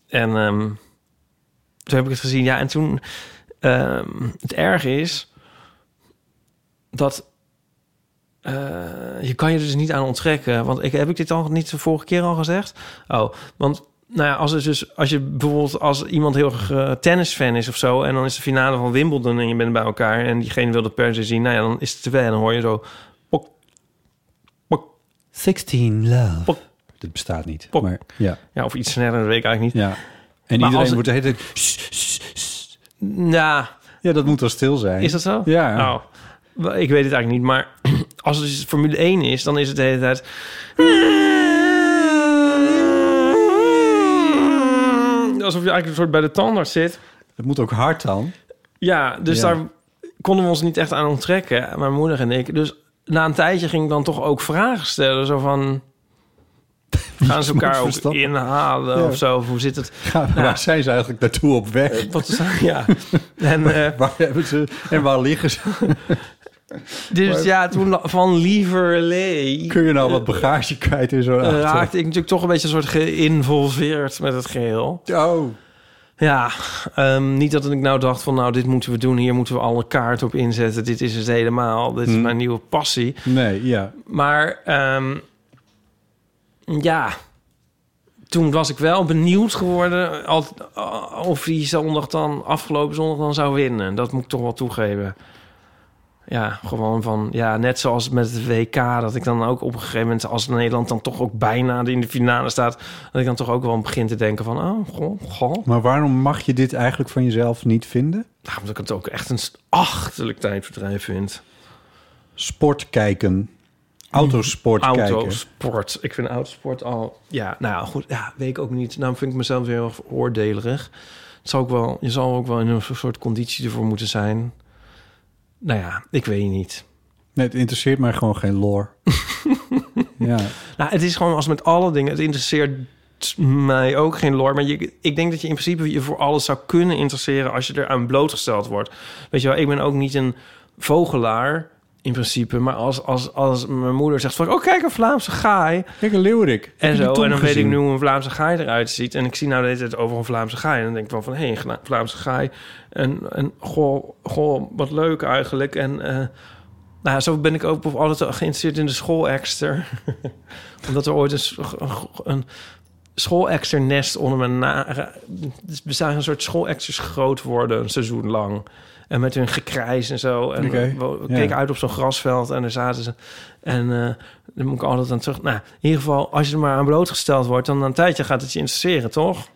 En ehm, toen heb ik het gezien. Ja, en toen... ehm, het erg is dat eh, je kan je er dus niet aan onttrekken. Want ik, heb ik dit al niet de vorige keer al gezegd? Oh, want nou ja, als, het dus, als je bijvoorbeeld als iemand heel erg eh, tennisfan is of zo... en dan is de finale van Wimbledon en je bent bij elkaar... en diegene wil dat per se zien, nou ja, dan is het tv en dan hoor je zo... Pok,
16 love. Dat bestaat niet. Maar ja.
ja, of iets sneller, dat weet ik eigenlijk niet.
Ja. En
Maar
iedereen
als-
wordt de hele tijd...
Ja.
Ja, dat moet wel stil zijn.
Is dat zo?
Ja.
Nou, wel, ik weet het eigenlijk niet, maar als het dus Formule 1 is, dan is het de hele tijd... Alsof je eigenlijk een soort bij de tandarts zit.
Dat moet ook hard dan.
Ja, dus
Ja.
daar konden we ons niet echt aan onttrekken, mijn moeder en ik. Dus na een tijdje ging ik dan toch ook vragen stellen, zo van... Gaan ze elkaar ook
Verstappen.
inhalen
Ja.
of zo? Of hoe zit het? Nou Eh,
Waar zijn ze eigenlijk naartoe op weg?
Wat is- ja. En, eh,
waar hebben ze, en waar liggen ze?
Dus
Maar-
ja, toen la- van lieverlee... Eh,
Kun je nou wat bagage kwijt in zo'n auto?
raakte ik natuurlijk toch een beetje een soort geïnvolveerd met het geheel.
Oh.
Ja, ehm, niet dat ik nou dacht van nou, dit moeten we doen. Hier moeten we alle kaart op inzetten. Dit is het helemaal. Dit is
Hmm.
mijn nieuwe passie.
Nee, ja.
Maar ehm, ja, toen was ik wel benieuwd geworden al- of die zondag dan, afgelopen zondag dan zou winnen. Dat moet ik toch wel toegeven. Ja, gewoon van, ja, net zoals met het WK, dat ik dan ook op een gegeven moment, als Nederland dan toch ook bijna in de finale staat, dat ik dan toch ook wel begin te denken van, oh, goh, goh.
Maar waarom mag je dit eigenlijk van jezelf niet vinden?
Nou, omdat ik het ook echt een achterlijk tijdverdrijf vind.
Sport kijken. Autosport kijken.
Autosport. Ik vind autosport al... Ja, nou goed, ja, weet ik ook niet. Nou vind ik mezelf weer heel erg oordelerig. Het zal ook wel, je zal ook wel in een soort conditie ervoor moeten zijn. Nou ja, ik weet niet.
Nee, het interesseert mij gewoon geen lore. ja.
Nou, het is gewoon als met alle dingen. Het interesseert mij ook geen lore. Maar je, ik denk dat je in principe je voor alles zou kunnen interesseren... als je eraan blootgesteld wordt. Weet je wel, ik ben ook niet een vogelaar... In principe, maar als, als, als mijn moeder zegt van... oh, kijk, een Vlaamse gaai.
Kijk, een leeuwerik. Heb
En
je die
zo, en
tong
dan weet ik
gezien?
nu hoe een Vlaamse gaai eruit ziet. En ik zie nou de hele tijd over een Vlaamse gaai. En dan denk ik wel van, hé, hey, een Vlaamse gaai. En, en goh, goh, wat leuk eigenlijk. En eh, nou, zo ben ik ook altijd geïnteresseerd in de schoolexter. Omdat er ooit een, s- een schoolexternest onder mijn na... Dus we zagen een soort schoolexters groot worden een seizoen lang. En met hun gekrijs en zo. En
Oké,
we- we
ja.
keken uit op zo'n grasveld en daar zaten ze. En eh daar moet ik altijd aan terug. Nou, in ieder geval, als je er maar aan blootgesteld wordt... dan na een tijdje gaat het je interesseren, toch?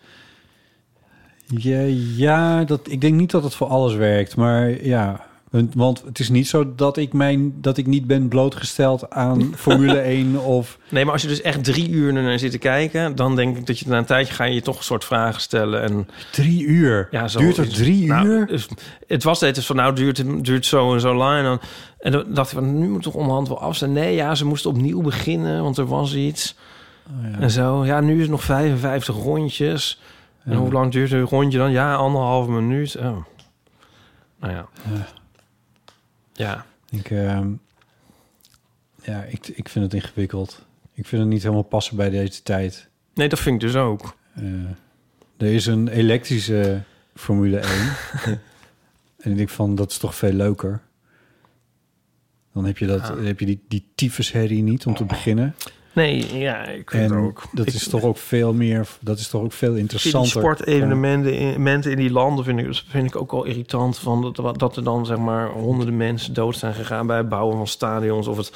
Ja, ja dat, ik denk niet dat het voor alles werkt. Maar ja, En- Want het is niet zo dat ik, mijn, dat ik niet ben blootgesteld aan Formule 1 of...
Nee, maar als je dus echt drie uur naar zit te kijken... dan denk ik dat je na een tijdje ga je je toch een soort vragen stellen. En...
Drie uur?
Ja, zo nou,
Duurt het drie
uur? het was steeds van, nou duurt het duurt zo en zo lang. En dan, en dan dacht ik, van, nu moet toch onderhand wel af zijn. Nee, ja, ze moesten opnieuw beginnen, want er was iets. En zo, ja, nu is het nog 55 rondjes. En
Ja.
hoe lang duurt een rondje dan? Ja, anderhalf minuut. Oh. Nou ja.
Ja.
Ja.
Ik, ehm, ja, ik, ik vind het ingewikkeld. Ik vind het niet helemaal passen bij deze tijd. Eh,
Nee, dat vind ik dus ook.
er is een elektrische Formule 1. en ik denk van, dat is toch veel leuker. Dan heb je, dat,
Ja.
dan heb je die, die tyfusherrie niet om te beginnen.
Nee, ja, ik vind
En
het ook.
dat
Ik-
is toch ook veel meer, dat is toch ook veel
Ik vind die
interessanter.
sportevenementen in, mensen in die landen vind ik, vind ik ook wel irritant. Van dat, dat er dan zeg maar honderden mensen dood zijn gegaan bij het bouwen van stadions of het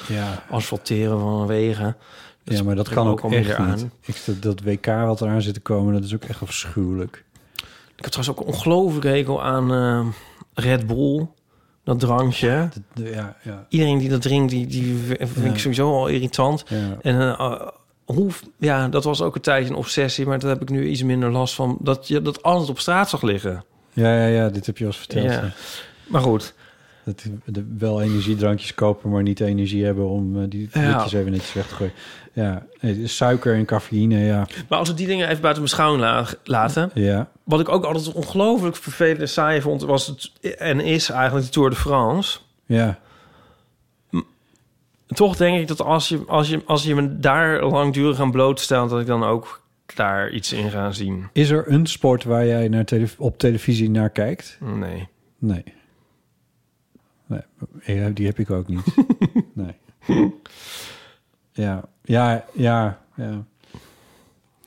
asfalteren van wegen.
Ja, maar dat
spreekt
kan
me
ook
alweer
echt niet. Ik, dat, dat WK wat eraan zit te komen, dat is ook echt afschuwelijk.
Ik heb trouwens ook een ongelooflijke hekel aan eh, Red Bull. Dat drankje.
ja, ja.
Iedereen die dat drinkt, die, die v- vind ik
Ja.
sowieso al irritant.
Ja.
En eh, hoe, ja, dat was ook een tijdje een obsessie, maar daar heb ik nu iets minder last van. Dat je dat alles op straat zag liggen.
Ja, ja, ja, dit heb je al eens verteld.
Ja. Maar goed.
Dat de, wel energiedrankjes kopen, maar niet de energie hebben om eh, die
Ja.
dingetjes even netjes weg te gooien. Ja, nee, suiker en cafeïne, ja.
Maar als we die dingen even buiten beschouwing la- laten.
Ja.
Wat ik ook altijd ongelooflijk vervelend en saai vond, was het, en is eigenlijk de Tour de France.
Ja,
Toch denk ik dat als je, als je, als je me daar langdurig aan blootstelt, dat ik dan ook daar iets in ga zien.
is er een sport waar jij naar tele- op televisie naar kijkt?
Nee.
Nee. nee. eh, ja, Die heb ik ook niet. nee. Ja, ja, ja, ja.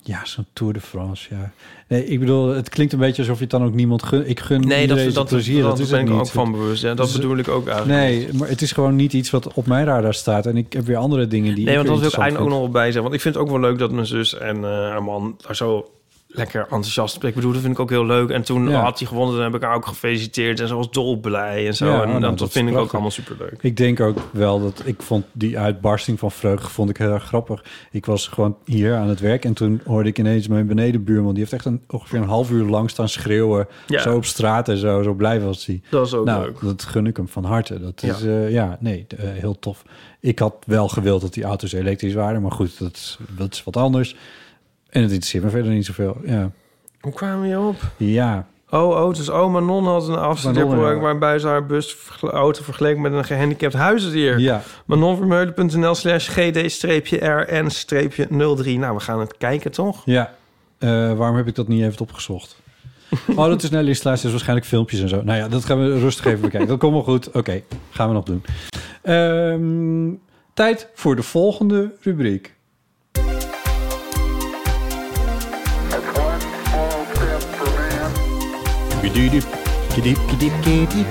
Ja, zo'n Tour de France, ja. Nee, ik bedoel, het klinkt een beetje alsof je het dan ook niemand gun. Ik gun
Nee, dat,
iedereen
dat,
zijn
dat,
plezier.
dat
is
ben
het
ik
niet.
ook van bewust. Ja, dat
Dus-
bedoel ik ook eigenlijk.
Nee, maar het is gewoon niet iets wat op mijn radar staat. En ik heb weer andere dingen die
Nee,
ik
want dat wil ik eigenlijk ook
eigenlijk
nog wel bij zeggen. Want ik vind het ook wel leuk dat mijn zus en eh, haar man daar zo lekker enthousiast op. Ik bedoel, dat vind ik ook heel leuk. En toen
Ja.
had hij gewonnen, dan heb ik haar ook gefeliciteerd. En ze was dolblij en zo.
Ja,
en
nou,
dat,
dat is
vind ik ook
prachtig.
allemaal superleuk.
Ik denk ook wel dat ik vond die uitbarsting van vreugde vond ik heel erg grappig. Ik was gewoon hier aan het werk en toen hoorde ik ineens mijn benedenbuurman. Die heeft echt een, ongeveer een half uur lang staan schreeuwen.
Ja.
Zo op straat en zo, zo blij was hij.
Dat is ook
nou,
leuk.
dat gun ik hem van harte. Dat
Ja.
is, eh, ja, nee, eh, heel tof. Ik had wel gewild dat die auto's elektrisch waren. Maar goed, dat is, dat is wat anders. En het interesseert me verder niet zoveel. Ja,
Hoe kwamen we hierop?
ja.
Oh, oh, dus oma Non had een
Manon,
afstandsproject
ja.
waarbij ze haar bus vergel- auto vergeleek met een gehandicapt huisdier.
Ja.
Manonvermeulen.nl slash gd-rn-03. Nou, we gaan het kijken, toch?
Ja. Eh, waarom heb ik dat niet even opgezocht? Oh, dat is Nelly's lijst, dus waarschijnlijk filmpjes en zo. Nou ja, dat gaan we rustig even bekijken. Dat komt wel goed. Oké, gaan we nog doen. Ehm, tijd voor de volgende rubriek. Kidiep, kidiep, kidiep, kidiep.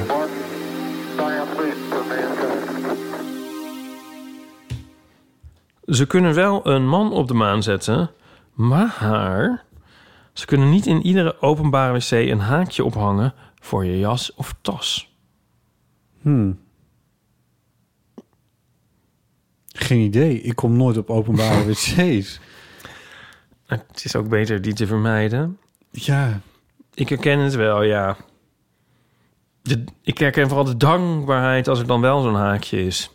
Ze kunnen wel een man op de maan zetten, maar ze kunnen niet in iedere openbare wc een haakje ophangen voor je jas of tas.
Hmm. Geen idee. Ik kom nooit op openbare wc's.
Nou, Het is ook beter die te vermijden.
Ja.
Ik herken het wel, ja. De- ik herken vooral de dankbaarheid als er dan wel zo'n haakje is.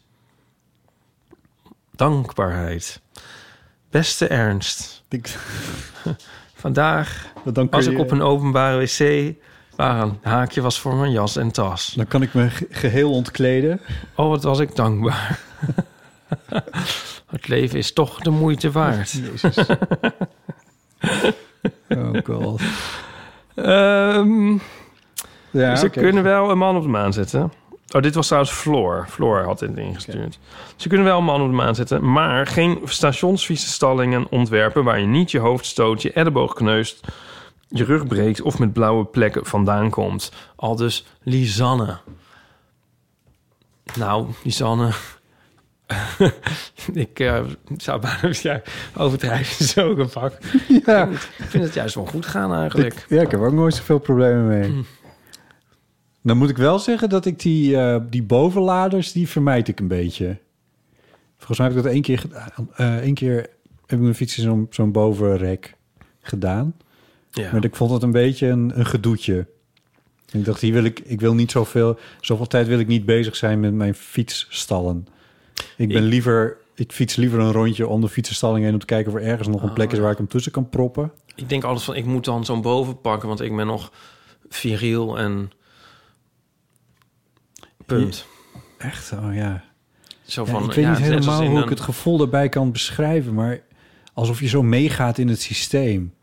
Dankbaarheid. Beste Ernst. Vandaag
dan kun
was ik
je-
op een openbare wc waar een haakje was voor mijn jas en tas.
Dan kan ik me ge- geheel ontkleden.
Oh, wat was ik dankbaar. Het leven is toch de moeite waard.
Jezus. Oh god.
Ehm,
Ja,
ze
oké.
kunnen wel Nou, een man op de maan zetten. Oh, dit was trouwens Floor. Floor had dit ingestuurd. Ze kunnen wel een man op de maan zetten, maar geen stationsfietsenstallingen ontwerpen waar je niet je hoofd stoot, je elleboog kneust, je rug breekt of met blauwe plekken vandaan komt. Al dus Lisanne. Nou, Lisanne. ik eh, zou bijna ja, overdrijven is ook een vak.
Ja.
Ik vind het juist wel goed gaan eigenlijk.
Hm.
Ik- ja, ik heb ook nooit zoveel problemen mee. Dan moet ik wel zeggen dat ik die, eh, die bovenladers, die vermijd ik een beetje. Volgens mij heb ik dat één keer gedaan. Eh, Eén keer heb ik mijn fiets in zo'n zo'n bovenrek gedaan.
Ja.
Maar ik vond het een beetje een, een gedoetje. Ik dacht, hier wil ik, ik wil niet zoveel, zoveel tijd wil ik niet bezig zijn met mijn fietsstallen. Ik ben
Ik-
liever, ik fiets liever een rondje om de fietsenstalling heen om te kijken of er ergens nog een plek is
Ah.
waar ik hem tussen kan proppen.
Ik denk altijd van, ik moet dan zo'n boven pakken, want ik ben nog viriel en... Punt.
Echt? Oh ja.
Zo
Ja,
van,
ik weet
ja,
niet
het is net
helemaal
als in
hoe
een-
ik het gevoel daarbij kan beschrijven, maar alsof je zo meegaat in het systeem.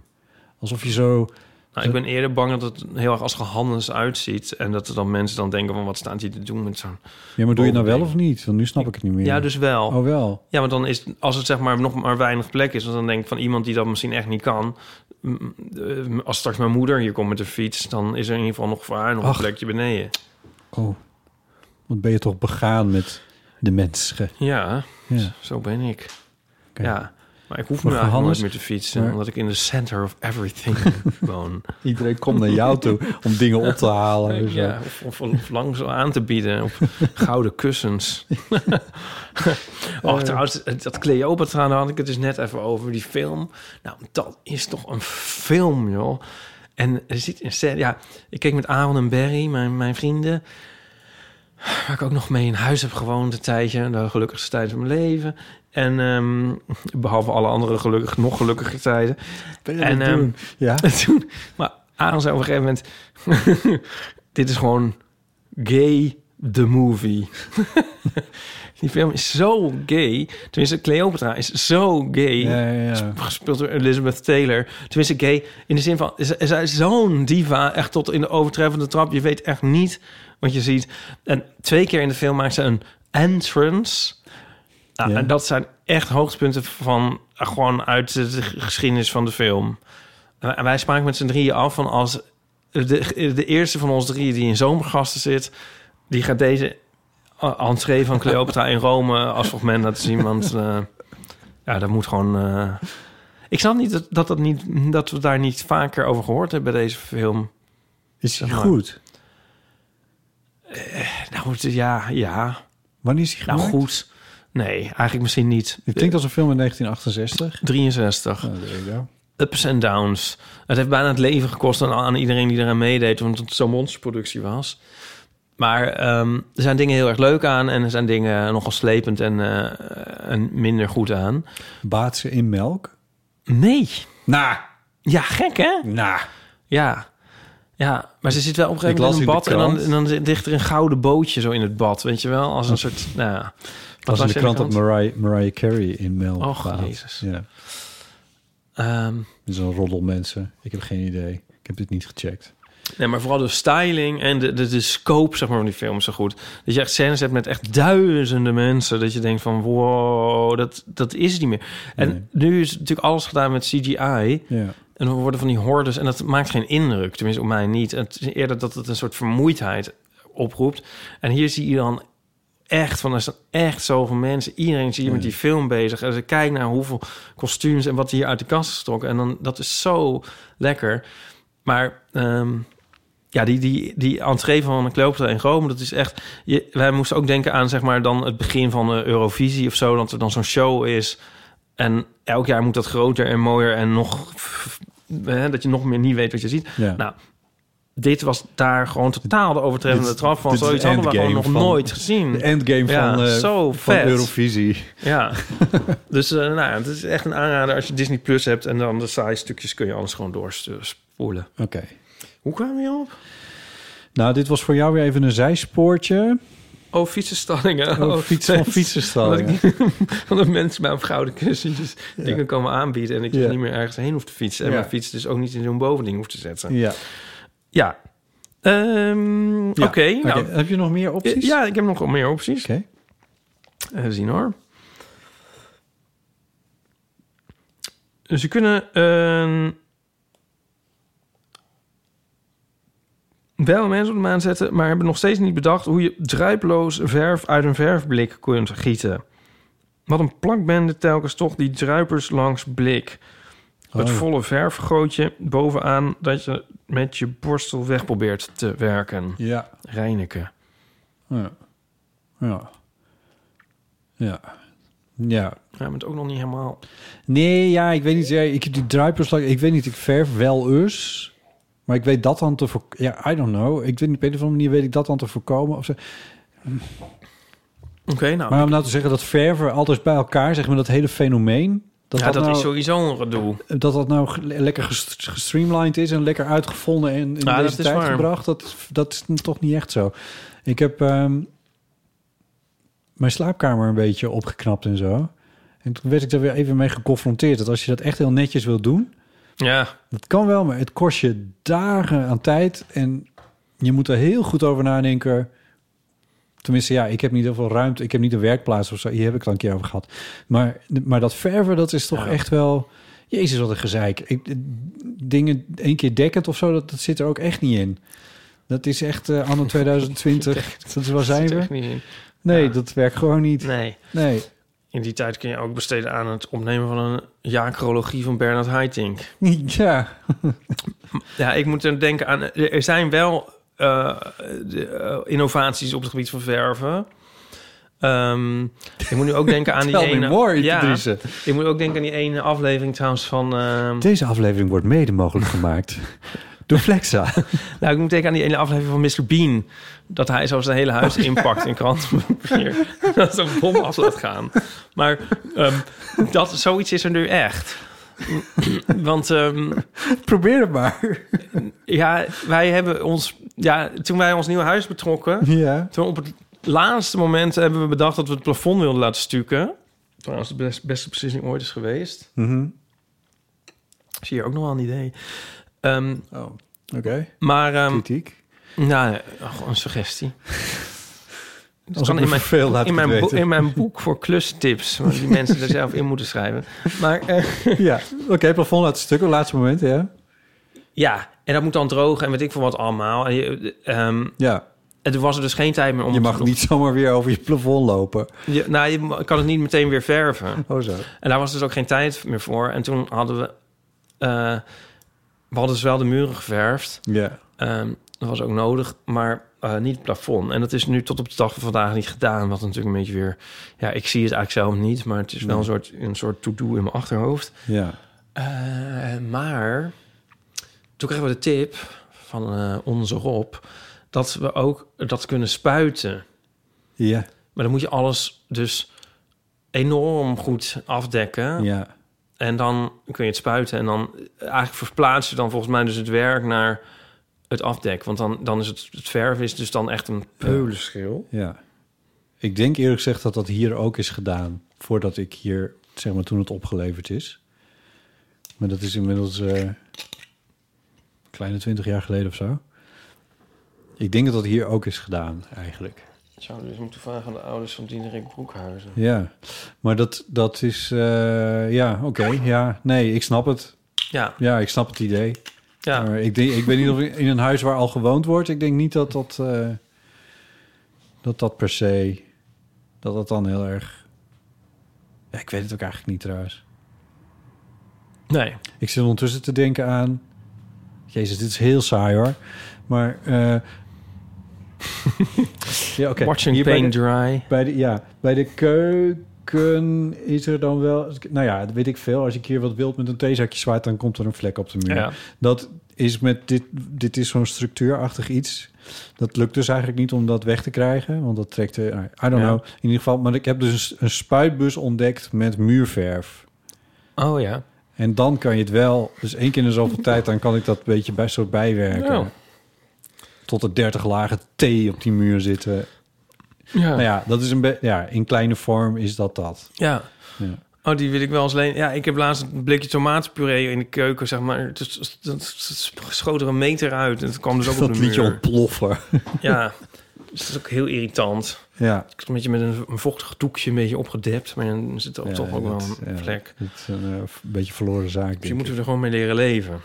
Alsof je zo...
Nou, ik ben eerder bang dat het heel erg als gehandels uitziet. En dat er dan mensen dan denken van, wat staat hij te doen met zo'n...
Ja, maar doe je het nou wel of niet? Want nu snap ik het niet meer.
Ja, dus wel.
Oh, wel.
Ja, want dan is als het zeg maar nog maar weinig plek is, want dan denk ik van iemand die dat misschien echt niet kan. m, eh, Als straks mijn moeder hier komt met de fiets, dan is er in ieder geval nog voor haar nog
Ach.
een plekje beneden.
Oh, wat ben je toch begaan met de mensen.
Ja,
Ja.
z- zo ben ik. Ja, maar ik hoef
Voor
nu eigenlijk nooit
Johannes,
meer te fietsen,
maar-
omdat ik in de center of everything woon.
Iedereen komt naar jou toe om dingen op te halen en zo.
Ja, of, of, of langzaam aan te bieden op gouden kussens. Och, trouwens, dat Cleopatra, daar had ik het dus net even over, die film. Nou, dat is toch een film, joh. En er zit een scène... Ja, ik keek met Aaron en Barry, mijn, mijn vrienden... waar ik ook nog mee in huis heb gewoond een tijdje. De gelukkigste tijd van mijn leven. En ehm, behalve alle andere gelukkig, nog gelukkige tijden.
Ben je dat aan het
ehm,
doen? Ja?
toen, maar Aaron zei op een gegeven moment... dit is gewoon gay the movie. Die film is zo gay. Tenminste, Cleopatra is zo gay.
Ja, ja, ja.
Sp- Gespeeld door Elizabeth Taylor. Tenminste, gay in de zin van... z- Zij is zo'n diva, echt tot in de overtreffende trap. Je weet echt niet wat je ziet. En twee keer in de film maakt ze een entrance... Nou, En dat zijn echt hoogtepunten van eh, gewoon uit de g- geschiedenis van de film. En wij- en wij spraken met z'n drieën af van als de, de eerste van ons drieën die in zomergasten zit, die gaat deze eh, entree van Cleopatra in Rome als fragment laten zien. Want eh, ja, dat moet gewoon. eh, ik snap niet dat, dat, dat niet dat we daar niet vaker over gehoord hebben bij deze film.
Is
hij
goed?
nou, het- ja, ja.
Wanneer is hij
Nou,
gemaakt?
goed. Nee, eigenlijk misschien niet.
Het klinkt als een film in 1968. Nou,
63.
go.
Ups en downs. Het heeft bijna het leven gekost aan, aan iedereen die eraan meedeed, want het zo'n monsterproductie was. Maar ehm, er zijn dingen heel erg leuk aan en er zijn dingen nogal slepend en, eh, en minder goed aan.
Baat ze in melk?
Nee.
Nou.
Ja, gek hè?
Nou.
Ja. Ja, maar ze zit wel op een gegeven
Ik las
moment in een bad
in
en
de
dan, en
krant.
dan zit- ligt er een gouden bootje zo in het bad, weet je wel? Als een
Dat-
soort, nou ja.
Dat was in de krant dat
op
Mariah, Mariah Carey in melk
Och,
baat.
Jezus.
Ja.
Ehm,
Dit is een roddel mensen. Ik heb geen idee. Ik heb dit niet gecheckt.
Nee, maar vooral de styling en de, de, de scope zeg maar, van die film is zo goed. Dat je echt scènes hebt met echt duizenden mensen. Dat je denkt van, wow, dat, dat is het niet meer. En nu is natuurlijk alles gedaan met CGI.
Ja.
En we worden van die hordes. En dat maakt geen indruk, tenminste op mij niet. Het is eerder dat het een soort vermoeidheid oproept. En hier zie je dan echt van, er staan echt zoveel mensen. Iedereen zie je met die film bezig. En ze kijken naar hoeveel kostuums en wat hier uit de kast is getrokken. En dan, dat is zo lekker. Maar ehm, ja, die, die, die entree van Cleopatra in Rome, dat is echt... Je, wij moesten ook denken aan zeg maar, dan het begin van de Eurovisie of zo. Dat er dan zo'n show is. En elk jaar moet dat groter en mooier en nog... Hè, dat je nog meer niet weet wat je ziet.
Ja.
Nou, dit was daar gewoon totaal de overtreffende
Dit-
trap van.
dit is
Zoiets
de
hadden we gewoon nog
endgame van-
nooit gezien.
De endgame
Ja,
van, eh,
zo
van
vet.
Eurovisie.
Ja, dus eh, nou, ja, het is echt een aanrader als je Disney Plus hebt... en dan de saaie stukjes kun je anders gewoon doorspoelen.
Oké.
Hoe kwamen we op?
Nou, dit was voor jou weer even een zijspoortje.
Oh, fietsenstallingen.
Oh, fiets- van fietsenstallingen.
Omdat ik niet- Omdat mensen mij op gouden kussentjes dingen komen aanbieden... en ik dus
Ja.
niet meer ergens heen hoef te fietsen. En
Ja.
mijn fiets dus ook niet in zo'n bovending hoef te zetten.
Ja.
Ja. Ehm, Oké.
Ja,
nou,
oké. Heb je nog meer opties?
Ja, ik heb nog wel meer opties.
Oké.
Even zien hoor. Ze kunnen een... wel mensen op de maan zetten... maar hebben nog steeds niet bedacht... hoe je druiploos verf uit een verfblik kunt gieten. Wat een plakbende telkens toch die druipers langs blik.
Oh.
Het volle verfgootje bovenaan dat je met je borstel weg probeert te werken.
Ja.
Reineken.
Ja. Ja. Ja. Ja.
Ja, bent ook nog niet helemaal.
Nee, ja, ik weet niet. Ja, ik heb die druipbeslag. Ik weet niet, ik verf wel eens. Maar ik weet dat dan te voorkomen. Ja, I don't know. Ik weet niet, op een of andere manier weet ik dat dan te voorkomen. Of zo.
Oké, nou.
Maar om nou te zeggen dat verven altijd bij elkaar, zeg maar dat hele fenomeen. nou
ja, dat, is sowieso een gedoe.
Dat dat nou ge- lekker ges- gestreamlined is en lekker uitgevonden en in
Ja,
deze
dat is
tijd
waar.
gebracht, dat, dat is n- toch niet echt zo. Ik heb ehm, mijn slaapkamer een beetje opgeknapt en zo. En toen werd ik er weer even mee geconfronteerd dat als je dat echt heel netjes wil doen,
Ja.
dat kan wel, maar het kost je dagen aan tijd en je moet er heel goed over nadenken. Tenminste, ja, ik heb niet heel veel ruimte. Ik heb niet een werkplaats of zo. Hier heb ik het al een keer over gehad. Maar, maar dat verven, dat is toch echt wel... Jezus, wat een gezeik. Ik, eh, dingen één keer dekkend of zo, dat, dat zit er ook echt niet in. Dat is echt eh, anno 2020. dat is waar zijn
Echt
we.
niet in.
Nee, dat werkt gewoon niet.
Nee.
Nee.
In die tijd kun je ook besteden aan het opnemen van een jaarchronologie van Bernard Haitink.
ja.
Ja, ik moet er denken aan. Er zijn wel eh, de, eh, innovaties op het gebied van verven. Ehm, ik moet nu ook denken aan die
Tell me
ene.
more,
ja,
Idrisse.
ik moet ook denken aan die ene aflevering trouwens van. ehm,
Deze aflevering wordt mede mogelijk gemaakt door Flexa.
nou, ik moet denken aan die ene aflevering van Mr. Bean. Dat hij zo zijn hele huis inpakt in krantenpapier. dat ze een bom af laat gaan. Maar ehm, dat, zoiets is er nu echt. Want ehm,
Probeer het maar.
ja, wij hebben ons. Ja, toen wij ons nieuwe huis betrokken.
Ja.
Toen op het laatste moment hebben we bedacht dat we het plafond wilden laten stukken. Trouwens, de best- beste beslissing ooit is geweest.
Mhm.
Zie je ook nog wel een idee. Ehm,
Oh, Oké.
Maar. ehm,
Kritiek.
Nou, eh, gewoon een suggestie. Dat
Als
kan
ik me verveel, laat
in,
ik
mijn
het
boek,
weten.
in mijn boek voor klustips, want die mensen er zelf in moeten schrijven. Maar eh,
Ja, oké, plafond laat stukken, laatste moment, ja.
ja, en dat moet dan drogen en weet ik veel wat allemaal. En je, ehm,
Ja.
En toen was er dus geen tijd meer om
je
het
mag
nog-
niet zomaar weer over je plafond lopen.
Je, nou, je ma- kan het niet meteen weer verven.
Oh zo.
En daar was dus ook geen tijd meer voor. En toen hadden we... eh, we hadden dus wel de muren geverfd.
Ja.
Ehm, dat was ook nodig, maar eh, niet het plafond. En dat is nu tot op de dag van vandaag niet gedaan. Wat natuurlijk een beetje weer... Ja, ik zie het eigenlijk zelf niet. Maar het is wel een soort, een soort to-do in mijn achterhoofd.
Ja.
Eh, maar toen kregen we de tip van eh, onze Rob... dat we ook dat kunnen spuiten.
Ja.
Maar dan moet je alles dus enorm goed afdekken.
Ja.
En dan kun je het spuiten. En dan eh, eigenlijk verplaats je dan volgens mij dus het werk naar het afdek. Want dan, dan is het, het verf is dus dan echt een peulenschil.
Ja. Ik denk eerlijk gezegd dat dat hier ook is gedaan. Voordat ik hier, zeg maar, toen het opgeleverd is. Maar dat is inmiddels eh kleine twintig jaar geleden of zo. Ik denk dat dat hier ook is gedaan, eigenlijk.
Zouden we dus moeten vragen aan de ouders van Diederik Broekhuizen.
Ja. Maar dat, dat is, eh, ja, oké. Ja, nee, ik snap het.
Ja.
Ja, ik snap het idee.
Ja.
Maar ik, denk, ik weet niet of in een huis waar al gewoond wordt, ik denk niet dat dat, eh, dat, dat per se, dat dat dan heel erg... Ja, ik weet het ook eigenlijk niet trouwens.
Nee.
Ik zit ondertussen te denken aan... Jezus, dit is heel saai hoor. Maar... eh, ja, oké.
Watching
Hier bij
pain
de-
dry.
Bij de, ja, bij de keuken is er dan wel... Nou ja, dat weet ik veel. Als ik hier wat wild met een theezakje zwaait... dan komt er een vlek op de muur.
Ja.
Dat is met dit... Dit is zo'n structuurachtig iets. Dat lukt dus eigenlijk niet om dat weg te krijgen. Want dat trekt... eh, I don't
Ja.
know. In ieder geval... Maar ik heb dus een, een spuitbus ontdekt met muurverf.
Oh ja.
En dan kan je het wel, dus één keer in de zoveel tijd, dan kan ik dat beetje best zo bijwerken.
Nou.
Tot er 30 lagen thee op die muur zitten.
Ja.
Nou ja, dat is een be- ja, in kleine vorm is dat dat.
Ja.
Ja.
Oh, die wil ik wel eens leen. Ja, ik heb laatst een blikje tomatenpuree in de keuken, zeg maar. Het is- het- het- het schoot er een meter uit en het kwam dus ook op
dat
de
liet je
muur.
ontploffen.
Ja, dus dat is ook heel irritant.
Ja.
Ik heb een beetje met een, een vochtig doekje een beetje opgedept, maar dan zit er
Ja,
toch ook wel
dat-
een
ja,
vlek.
Het is een eh, f- beetje verloren zaak. denk
Dus je
ik.
moet er gewoon mee leren leven.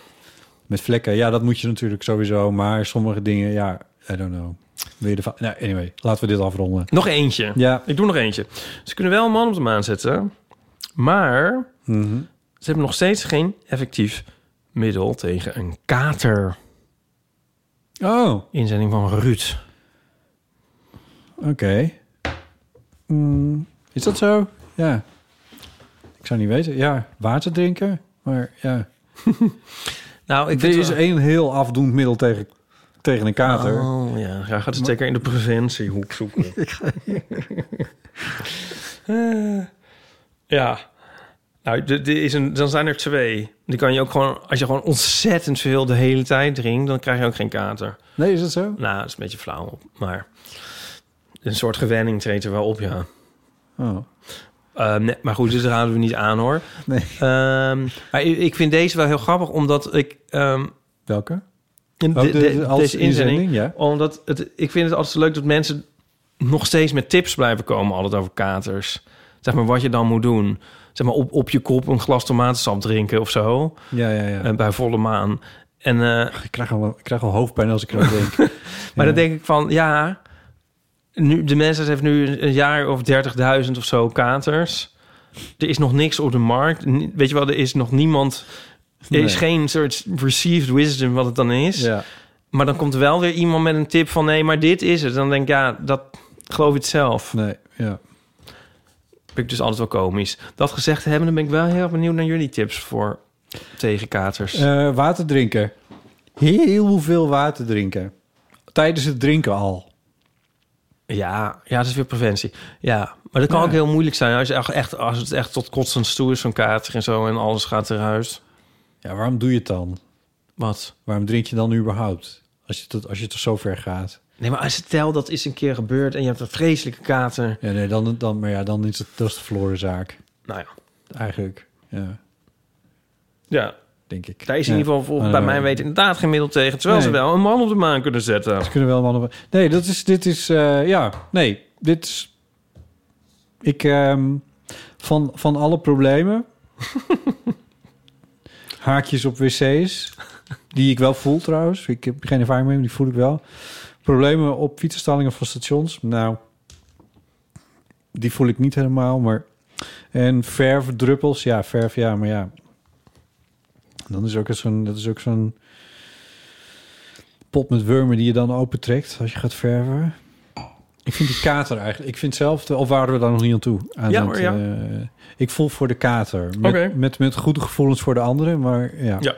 Met vlekken, ja, dat moet je natuurlijk sowieso. Maar sommige dingen, ja, I don't know. Wil je ervan? Nou, anyway, laten we dit afronden.
Nog eentje.
Ja. Mhm.
Ik doe nog eentje. Ze kunnen wel een man op de maan zetten, maar Ze hebben nog steeds geen effectief middel tegen een kater.
Oh.
Inzending van Ruud.
Oké. Mm, is dat zo? Ja. Ik zou niet weten. Ja, water drinken. Maar ja.
nou,
ik er is één heel afdoend middel tegen, tegen een kater.
Oh, ja, hij gaat het zeker in de preventiehoek zoeken. Eh, ja. Nou, dit dit is een, dan zijn er twee. Die kan je ook gewoon, als je gewoon ontzettend veel de hele tijd drinkt, dan krijg je ook geen kater.
Nee, is dat zo?
Nou, dat is een beetje flauw, maar een soort gewenning treedt er wel op, ja.
Oh.
Eh, nee, maar goed, dus daar houden we niet aan hoor.
Nee.
Ehm, maar ik, ik vind deze wel heel grappig, omdat ik.
Welke?
In
Oh,
de-
de-
de-
als
deze inzending,
inzending, ja.
Omdat het, ik vind het altijd zo leuk dat mensen nog steeds met tips blijven komen, altijd over katers. Zeg maar wat je dan moet doen. Zeg maar op, op je kop een glas tomatensap drinken of zo.
Ja, ja, ja.
Eh, bij volle maan. En, eh,
ik, krijg al, ik krijg al hoofdpijn als ik erover denk. maar
dan denk ik van, ja... Nu, de mensen heeft nu een- een jaar of 30.000 of zo katers. Er is nog niks op de markt. Ni- Weet je wel, er is nog niemand... Er is
Nee.
geen soort received wisdom wat het dan is. Maar dan komt wel weer iemand met een tip van... nee, maar dit is het. Dan denk ik, ja, dat geloof ik het zelf.
Nee, ja.
Vind ik dus altijd wel komisch. Dat gezegd hebben, dan ben ik wel heel benieuwd naar jullie tips voor tegen katers.
Eh, water drinken. Heel veel water drinken. Tijdens het drinken al.
Ja, ja, dat is weer preventie. Ja, maar dat kan
Ja.
ook heel moeilijk zijn. Als, je echt- echt, als het echt tot kotsend toe is, zo'n kater en zo... en alles gaat eruit.
Ja, waarom doe je het dan?
Wat?
Waarom drink je dan überhaupt? Als je, tot, als je tot zover gaat.
Nee, maar als stel dat is een keer gebeurd... en je hebt een vreselijke kater.
Ja, nee, dan, dan, maar ja, dan is het dat is de verloren zaak.
Nou ja.
Eigenlijk, ja.
Ja.
Denk ik.
Daar is
Ja.
in ieder geval volgens bij
Eh,
mij weten inderdaad geen middel tegen. Terwijl ze
Nee.
wel eh, een man op de maan kunnen zetten.
Ze kunnen wel mannen... Nee, dat is, dit is... eh, ja, nee. Dit is... Ik... ehm, van, van alle problemen... haakjes op wc's... die ik wel voel trouwens. Ik heb geen ervaring mee, maar die voel ik wel. Problemen op fietsenstallingen van stations. Nou, die voel ik niet helemaal, maar... En verfdruppels. Ja, verf, ja, maar ja. Dan is ook eens zo'n... Dat is ook zo'n pot met wormen die je dan opentrekt als je gaat verven. Ik vind die kater eigenlijk. Ik vind zelf, de, of waren we daar nog niet aan toe? Aan
Ja hoor, ja.
eh, ik voel voor de kater. Met,
Oké.
met, met goede gevoelens voor de anderen, maar ja.
Ja.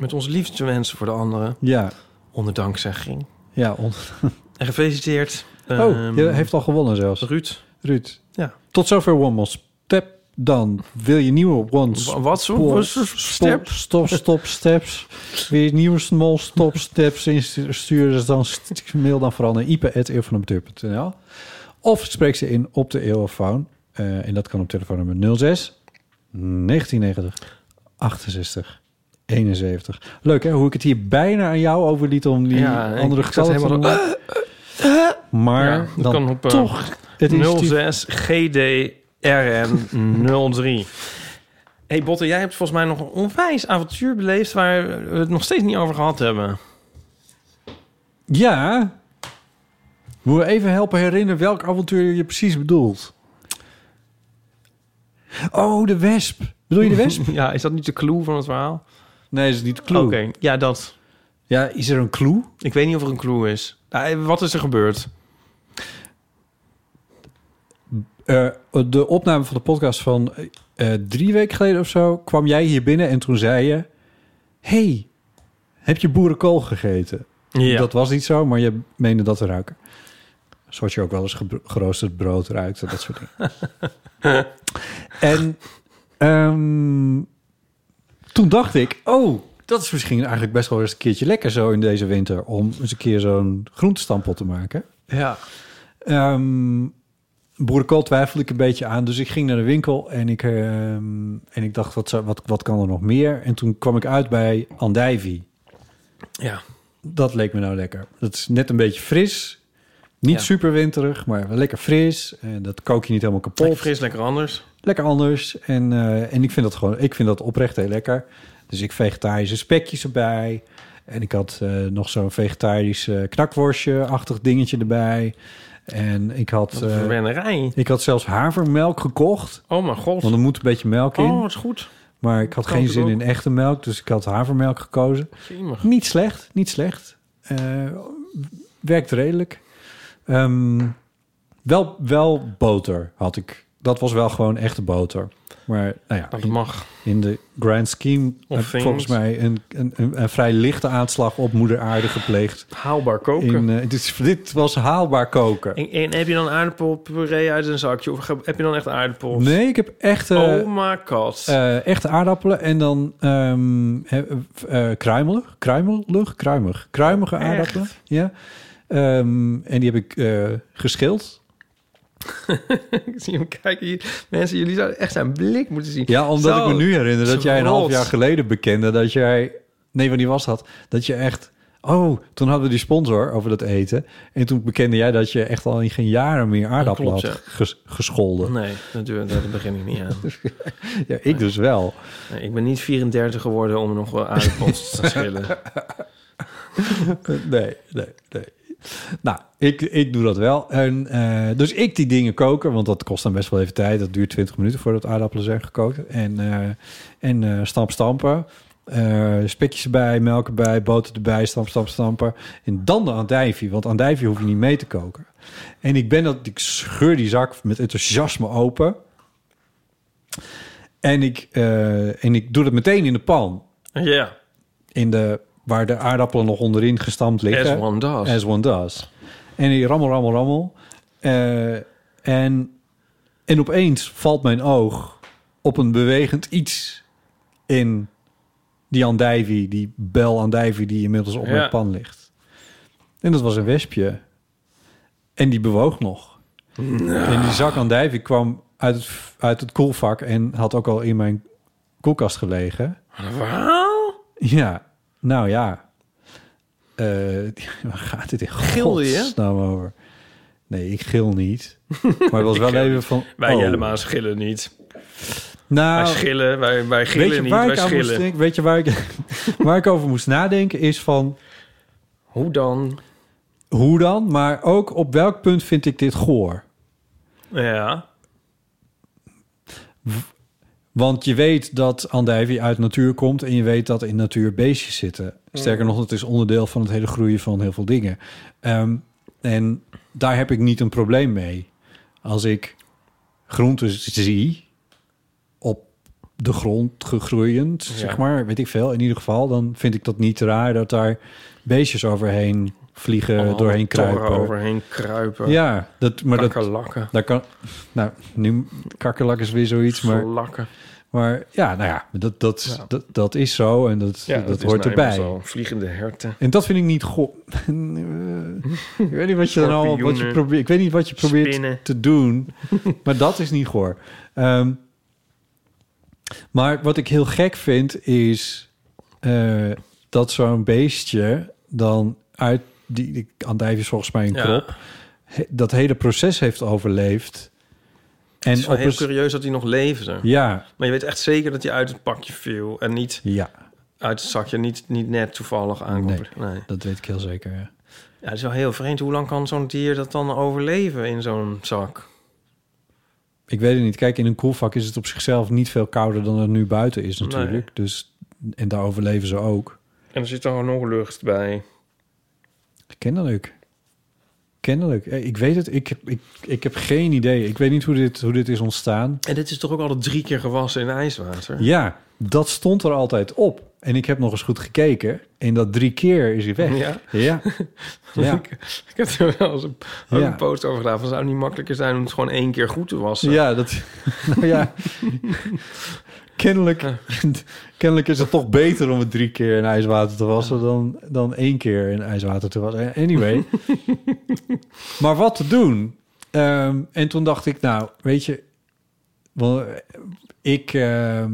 Met onze liefste wensen voor de anderen.
Ja.
Onder dankzegging.
Ja, on-
En gefeliciteerd. ehm,
oh, je heeft al gewonnen zelfs.
Ruud.
Ruud.
Ja.
Tot zover One More Step. Dan wil je nieuwe One
Wa- wat zo-
Spor-
wat zo- step?
Stop, stop, steps. Weer nieuwe small stop steps insturen. Dus dan st- mail dan vooral naar ipe.eeuwvanamateur.nl Of spreek ze in op de eeuwofoon. Eh, en dat kan op telefoonnummer 06 1990 68 71. Leuk hè, hoe ik het hier bijna aan jou overliet om die
Ja, ik-
andere
ik zat
getallen te
helemaal
noemen. Maar
Ja, dat
dan
kan op, eh,
toch het initiatief-
06 GDRN 03. hey Botte, jij hebt volgens mij nog een onwijs avontuur beleefd... waar we het nog steeds niet over gehad hebben.
Ja. Moet je even helpen herinneren welk avontuur je precies bedoelt. Oh, de wesp. Bedoel je de wesp?
ja, is dat niet de clue van het verhaal?
Nee, is het niet de clue.
Oké, ja, dat.
Ja, is er een clue?
Ik weet niet of er een clue is. Nou, eh, wat is er gebeurd?
Eh, de opname van de podcast van eh, eh, drie weken geleden of zo... kwam jij hier binnen en toen zei je... hey, heb je boerenkool gegeten?
Ja.
Dat was niet zo, maar je meende dat te ruiken. Zoals je ook wel eens gebro- geroosterd brood ruikt en dat soort dingen. en ehm, toen dacht ik, oh, dat is misschien eigenlijk best wel eens een keertje lekker zo in deze winter... om eens een keer zo'n groentestampot te maken.
Ja.
Ehm boerenkool twijfelde ik een beetje aan. Dus ik ging naar de winkel en ik, ehm, en ik dacht, wat, zou- wat, wat kan er nog meer? En toen kwam ik uit bij andijvie.
Ja.
Dat leek me nou lekker. Dat is net een beetje fris. Niet
Ja.
super winterig, maar wel lekker fris. En dat kook je niet helemaal kapot.
Lekker fris, lekker anders.
Lekker anders. En, eh, en ik vind dat gewoon, ik vind dat oprecht heel lekker. Dus ik vegetarische spekjes erbij. En ik had eh, nog zo'n vegetarisch eh, knakworstje-achtig dingetje erbij. En ik had.
Wat een
eh,
verwennerij.
ik had zelfs havermelk gekocht.
Oh mijn god.
Want er moet een beetje melk in.
Oh, dat is goed.
Maar ik had
Kan
geen
het
zin
ook?
in echte melk, dus ik had havermelk gekozen.
Jemig.
Niet slecht, niet slecht. Eh, werkt redelijk. Ehm, wel, wel boter had ik. Dat was wel gewoon echte boter. Maar nou ja,
Dat
in-
mag.
In de grand scheme
Of
heb ik
things.
volgens mij een, een, een, een vrij lichte aanslag op moeder aarde gepleegd.
Haalbaar koken.
In, eh, dit, dit was haalbaar koken.
En, en heb je dan aardappelpuree uit een zakje? Of heb je dan echt aardappels?
Nee, ik heb echt... eh,
oh my god.
eh, echte aardappelen en dan ehm he- eh, kruimelig, kruimelig, kruimig, kruimige
Echt?
aardappelen. Ja. Ehm, en die heb ik eh, geschild.
ik zie hem kijken hier. Mensen, jullie zouden echt zijn blik moeten zien.
Ja, omdat
Zo,
ik me nu herinner dat jij een half
rots.
jaar geleden bekende dat jij, nee, wanneer was dat? Dat je echt, oh, toen hadden we die sponsor over dat eten en toen bekende jij dat je echt al in geen jaren meer aardappelen
klopt,
had
ja.
ges- gescholden.
Nee, natuurlijk, daar begin ik niet aan.
Ja, ik dus wel.
Nee, ik ben niet 34 geworden om nog wel aardappels te schillen.
nee, nee, nee. Nou, ik, ik doe dat wel. En, eh, dus ik die dingen koken, want dat kost dan best wel even tijd. Dat duurt 20 minuten voordat aardappelen zijn gekookt. En, eh en eh, stamp stampen. Eh, spekjes erbij, melk erbij, boter erbij, stamp, stamp, stampen. En dan de andijvie, want andijvie hoef je niet mee te koken. En ik ben dat, ik scheur die zak met enthousiasme open. En ik, eh, en ik doe dat meteen in de pan.
ja,
In de, waar de aardappelen nog onderin gestampt liggen.
As one does.
As one does. En die rammel, rammel, rammel. Eh, en, en opeens valt mijn oog op een bewegend iets in die andijvie, die bel andijvie die inmiddels op
Ja.
mijn pan ligt. En dat was een wespje. En die bewoog nog. En die zak andijvie kwam uit het, uit het koelvak en had ook al in mijn koelkast gelegen.
Verhaal?
Ja, nou ja. Eh, waar gaat dit in
Gilde je?
godsnaam over? Nee, ik gil niet. Maar het was wel even van...
Wij
oh.
helemaal schillen niet.
Nou,
wij schillen, wij, wij gillen
weet je
niet,
waar
wij
ik aan moest
schillen.
denken? Weet je waar ik, waar ik over moest nadenken is van...
Hoe dan?
Hoe dan? Maar ook op welk punt vind ik dit goor?
Ja,
Want je weet dat andijvie uit natuur komt en je weet dat in natuur beestjes
Mm.
zitten. Sterker nog, het is onderdeel van het hele groeien van heel veel dingen. Ehm, en daar heb ik niet een probleem mee. Als ik groenten zie op de grond gegroeiend,
Ja.
zeg maar, weet ik veel. In ieder geval, dan vind ik dat niet raar dat daar beestjes overheen vliegen,
Allemaal
doorheen
torren
kruipen.
overheen kruipen.
Ja, dat, maar
Kakkerlakken.
dat... Daar kan, nou, nu kakkerlak is weer zoiets, maar...
Lakken.
Maar ja, nou ja, dat, dat, dat, dat is zo en dat,
ja nou
dat, hoort erbij.
Vliegende herten.
En dat vind ik niet goed. ik weet niet wat je dan allemaal wat je
Schorpioenen.
probeert. Ik weet niet wat je probeert
Spinnen.
te doen, maar dat is niet goor. Ehm, maar wat ik heel gek vind is eh, dat zo'n beestje dan uit die, die andijf is volgens mij een
Ja.
krop he- dat hele proces heeft overleefd.
En het is wel heel
een s-
curieus dat hij nog leefde.
Ja.
Maar je weet echt zeker dat hij uit het pakje viel en niet
Ja.
uit het zakje, niet, niet net toevallig aankomt. Nee,
dat weet ik heel zeker. Ja.
Ja, het is wel heel vreemd. Hoe lang kan zo'n dier dat dan overleven in zo'n zak?
Ik weet het niet. Kijk, in een koelvak is het op zichzelf niet veel kouder dan het nu buiten is natuurlijk. Dus, en daar overleven ze ook.
En er zit dan gewoon nog lucht bij.
Kennelijk. Kennelijk. Eh, Ik weet het. Ik heb, ik, ik heb geen idee. Ik weet niet hoe dit, hoe dit is ontstaan.
En dit is toch ook altijd drie keer gewassen in ijswater?
Ja, dat stond er altijd op. En ik heb nog eens goed gekeken. En dat drie keer is hij weg.
Ja?
Ja. ja.
ik, ik heb er wel eens een, ook
Ja.
een post over gedaan. Van, zou het niet makkelijker zijn om het gewoon één keer goed te wassen?
Ja, dat. Nou ja. kennelijk, kennelijk is het toch beter om het drie keer in ijswater te wassen dan, dan één keer in ijswater te wassen. Anyway. maar wat te doen? Ehm, en toen dacht ik, nou, weet je, wel, ik. ehm,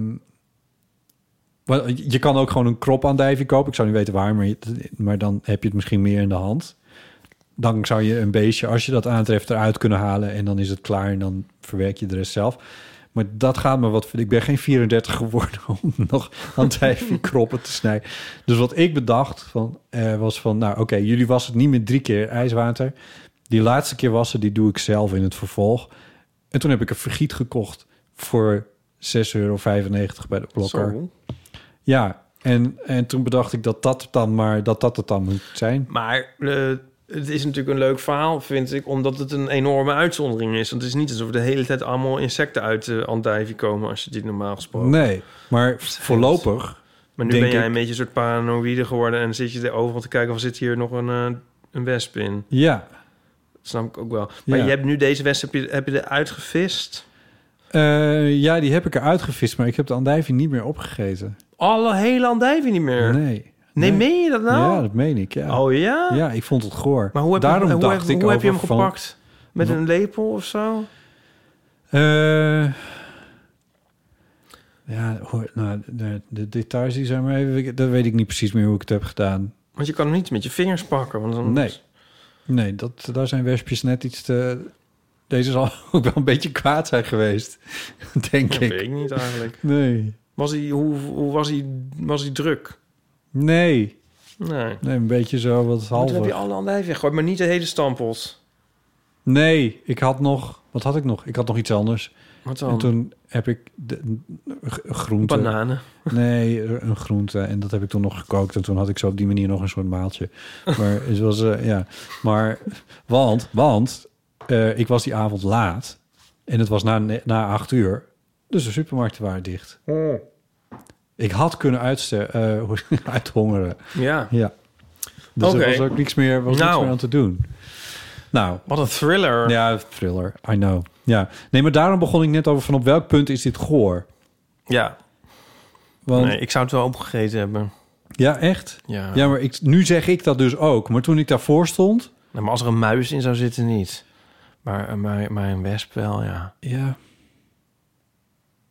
wel, je kan ook gewoon een krop andijvie kopen. Ik zou niet weten waar, maar, je- maar dan heb je het misschien meer in de hand dan zou je een beestje, als je dat aantreft, eruit kunnen halen. En dan is het klaar en dan verwerk je de rest zelf. Maar dat gaat me wat... Ik ben geen 34 geworden om nog aan tijfie kroppen te snijden. Dus wat ik bedacht van, eh, was van... Nou, oké, jullie wassen het niet meer drie keer ijswater. Die laatste keer wassen, die doe ik zelf in het vervolg. En toen heb ik een vergiet gekocht voor 6,95 euro bij de blokker.
Zo.
Ja, en, en toen bedacht ik dat dat dan maar dat dat het dan moet zijn.
Maar eh, het is natuurlijk een leuk verhaal, vind ik, omdat het een enorme uitzondering is. Want het is niet alsof de hele tijd allemaal insecten uit de andijvie komen als je die normaal gesproken.
Nee, maar voorlopig.
Maar nu
denk
ben jij
ik-
een beetje een soort paranoïde geworden en zit je er overal te kijken of zit hier nog een, eh, een wesp in.
Ja.
Dat snap ik ook wel. Maar
Ja.
je hebt nu deze wesp heb je, heb je eruit gevist.
Eh, ja, die heb ik eruit gevist, maar ik heb de andijvie niet meer opgegeten.
Alle hele andijvie niet meer.
Nee.
Nee, meen je dat nou?
Ja, dat meen ik, ja.
Oh ja?
Ja, ik vond het goor.
Maar hoe heb,
Daarom
je, hoe,
dacht
heb,
ik
hoe heb je hem
over van-
gepakt? Met een lepel of zo?
Eh, ja, hoor, nou, de, de details die zijn maar even... Dat weet ik niet precies meer hoe ik het heb gedaan.
Want je kan hem niet met je vingers pakken. Want dan
Nee. Nee, dat, daar zijn wespjes net iets te... Deze zal ook wel een beetje kwaad zijn geweest, denk
Dat
ik.
weet ik niet eigenlijk.
Nee.
Was hij, hoe, hoe was hij, was hij druk?
Nee.
Nee.
Nee, een beetje zo wat
Maar Toen heb je
halver.
alle andijvie weggegooid, maar niet de hele stampot.
Nee, ik had nog... Wat had ik nog? Ik had nog iets anders.
Wat dan?
En toen heb ik de, g- groente...
Bananen.
Nee, een groente. En dat heb ik toen nog gekookt. En toen had ik zo op die manier nog een soort maaltje. Maar het was... eh, ja. Maar... Want, want... eh, ik was die avond laat. En het was na, ne- na acht uur. Dus de supermarkten waren dicht.
Hmm.
Ik had kunnen uitste, eh, hoe- uithongeren.
Ja.
Ja. Dus
Oké.
er was ook niks meer, was niks
Nou.
meer aan te doen. Nou.
Wat een thriller.
Ja, thriller. I know. Ja. Nee, maar daarom begon ik net over van op welk punt is dit goor?
Ja.
Want-
Nee, ik zou het wel opgegeten hebben.
Ja, echt?
Ja.
ja maar ik, nu zeg ik dat dus ook. Maar toen ik daarvoor stond...
Nou, maar als er een muis in zou zitten, niet. Maar, eh, maar, maar een wesp wel, ja.
Ja.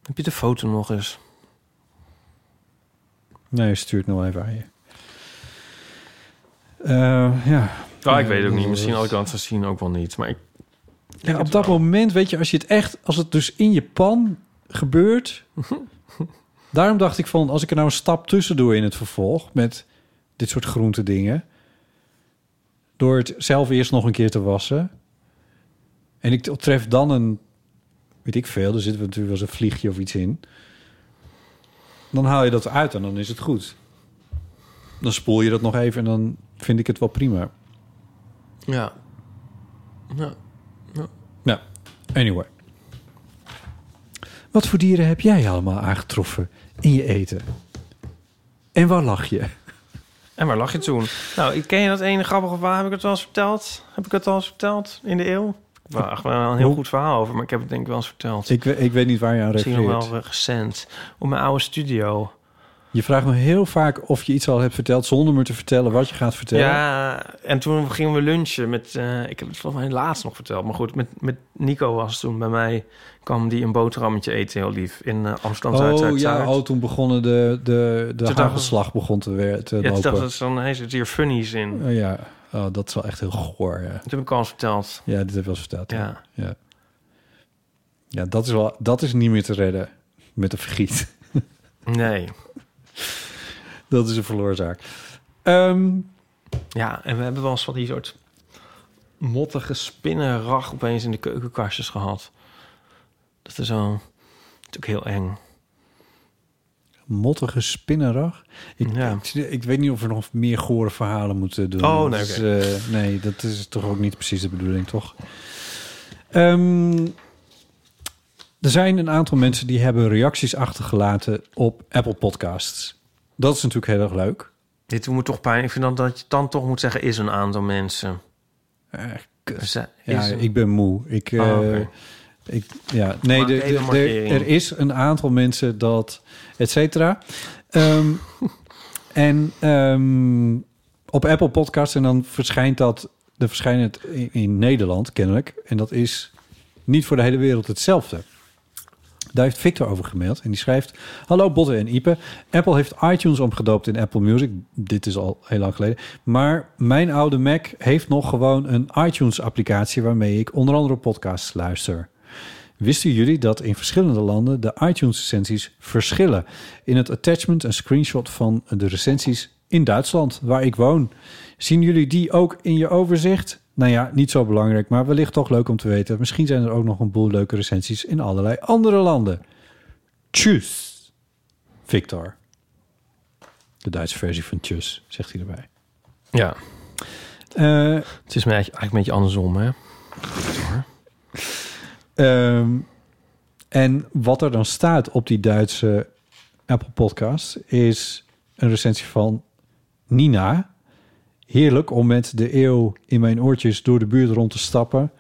Heb je de foto nog eens?
Nee, stuur het nog even aan je. Eh, ja.
Ah, ik weet het ook niet. Misschien had ik het gezien ook wel niet. Maar ik,
Ja, op dat moment, weet je, als je het echt... Als het dus in je pan gebeurt... daarom dacht ik van, als ik er nou een stap tussen doe in het vervolg... met dit soort groente dingen... door het zelf eerst nog een keer te wassen... en ik tref dan een... weet ik veel, er zit natuurlijk wel eens een vliegje of iets in... dan haal je dat uit en dan is het goed. Dan spoel je dat nog even en dan vind ik het wel prima.
ja. ja.
Nou, anyway. Wat voor dieren heb jij allemaal aangetroffen in je eten? En waar lach je?
En waar lag je toen? Nou, ik ken je dat ene grappige verhaal? Heb ik het wel eens verteld? Heb ik het al eens verteld in de eeuw? Ik heb echt wel een heel
Hoe?
goed verhaal over, maar ik heb het denk ik wel eens verteld.
Ik, we- ik weet niet waar je aan
Misschien nog
refereert.
wel recent. Op mijn oude studio.
Je vraagt me heel vaak of je iets al hebt verteld... zonder me te vertellen wat je gaat vertellen.
Ja, en toen gingen we lunchen met... eh, ik heb het volgens mij laatst nog verteld. Maar goed, met, met Nico was toen bij mij... kwam die een boterhammetje eten, heel lief. In eh, Amsterdam Zuid.
oh
Zuid,
ja,
Zuid.
oh, toen begonnen de, de, de
Toen dacht-
hagelslag begon te, weer, te
ja, toen dacht
lopen.
ik, dan hij zit hier funnies in.
Oh, ja, oh, dat is wel echt heel goor. Ja,
Toen heb ik al eens verteld.
ja dit heb ik wel eens verteld.
Ja.
ja. Ja, dat is, wel, dat is niet meer te redden met een vergiet.
Nee.
Dat is een verloren zaak. Ehm,
Ja, en we hebben wel eens van die soort mottige spinnenrag opeens in de keukenkastjes gehad. Dat is al natuurlijk heel eng.
mottige spinnenrag. Ik,
Ja.
ik, ik weet niet of we nog meer gore verhalen moeten doen.
Oh, nee,
Dat is,
oké.
eh, nee, dat is toch ook niet precies de bedoeling, toch? Ehm, er zijn een aantal mensen die hebben reacties achtergelaten op Apple Podcasts. Dat is natuurlijk heel erg leuk.
Dit doet me toch pijn. Ik vind dan dat je dan toch moet zeggen is een aantal mensen.
kut.
Is, is
Ja,
een-
ik ben moe. Ik,
Oh,
eh,
oké.
ik ja, nee,
Maak
de,
even
de-
een
de-
markering.
er is een aantal mensen dat, et cetera. Ehm, en ehm, op Apple Podcasts en dan verschijnt dat, er verschijnt het in, in Nederland kennelijk. En dat is niet voor de hele wereld hetzelfde. Daar heeft Victor over gemaild en die schrijft... Hallo Botte en Ipe. Apple heeft iTunes omgedoopt in Apple Music. Dit is al heel lang geleden. Maar mijn oude Mac heeft nog gewoon een iTunes-applicatie... waarmee ik onder andere podcasts luister. Wisten jullie dat in verschillende landen de iTunes-recensies verschillen? In het attachment een screenshot van de recensies in Duitsland, waar ik woon. Zien jullie die ook in je overzicht? Nou ja, niet zo belangrijk, maar wellicht toch leuk om te weten. Misschien zijn er ook nog een boel leuke recensies in allerlei andere landen. Tjus, Victor. De Duitse versie van tjus, zegt hij erbij. Eh,
Ja.
het
is me eigenlijk, eigenlijk een beetje andersom, hè?
Ehm, en wat er dan staat op die Duitse Apple Podcast is een recensie van Nina. Heerlijk om met de eeuw in mijn oortjes door de buurt rond te stappen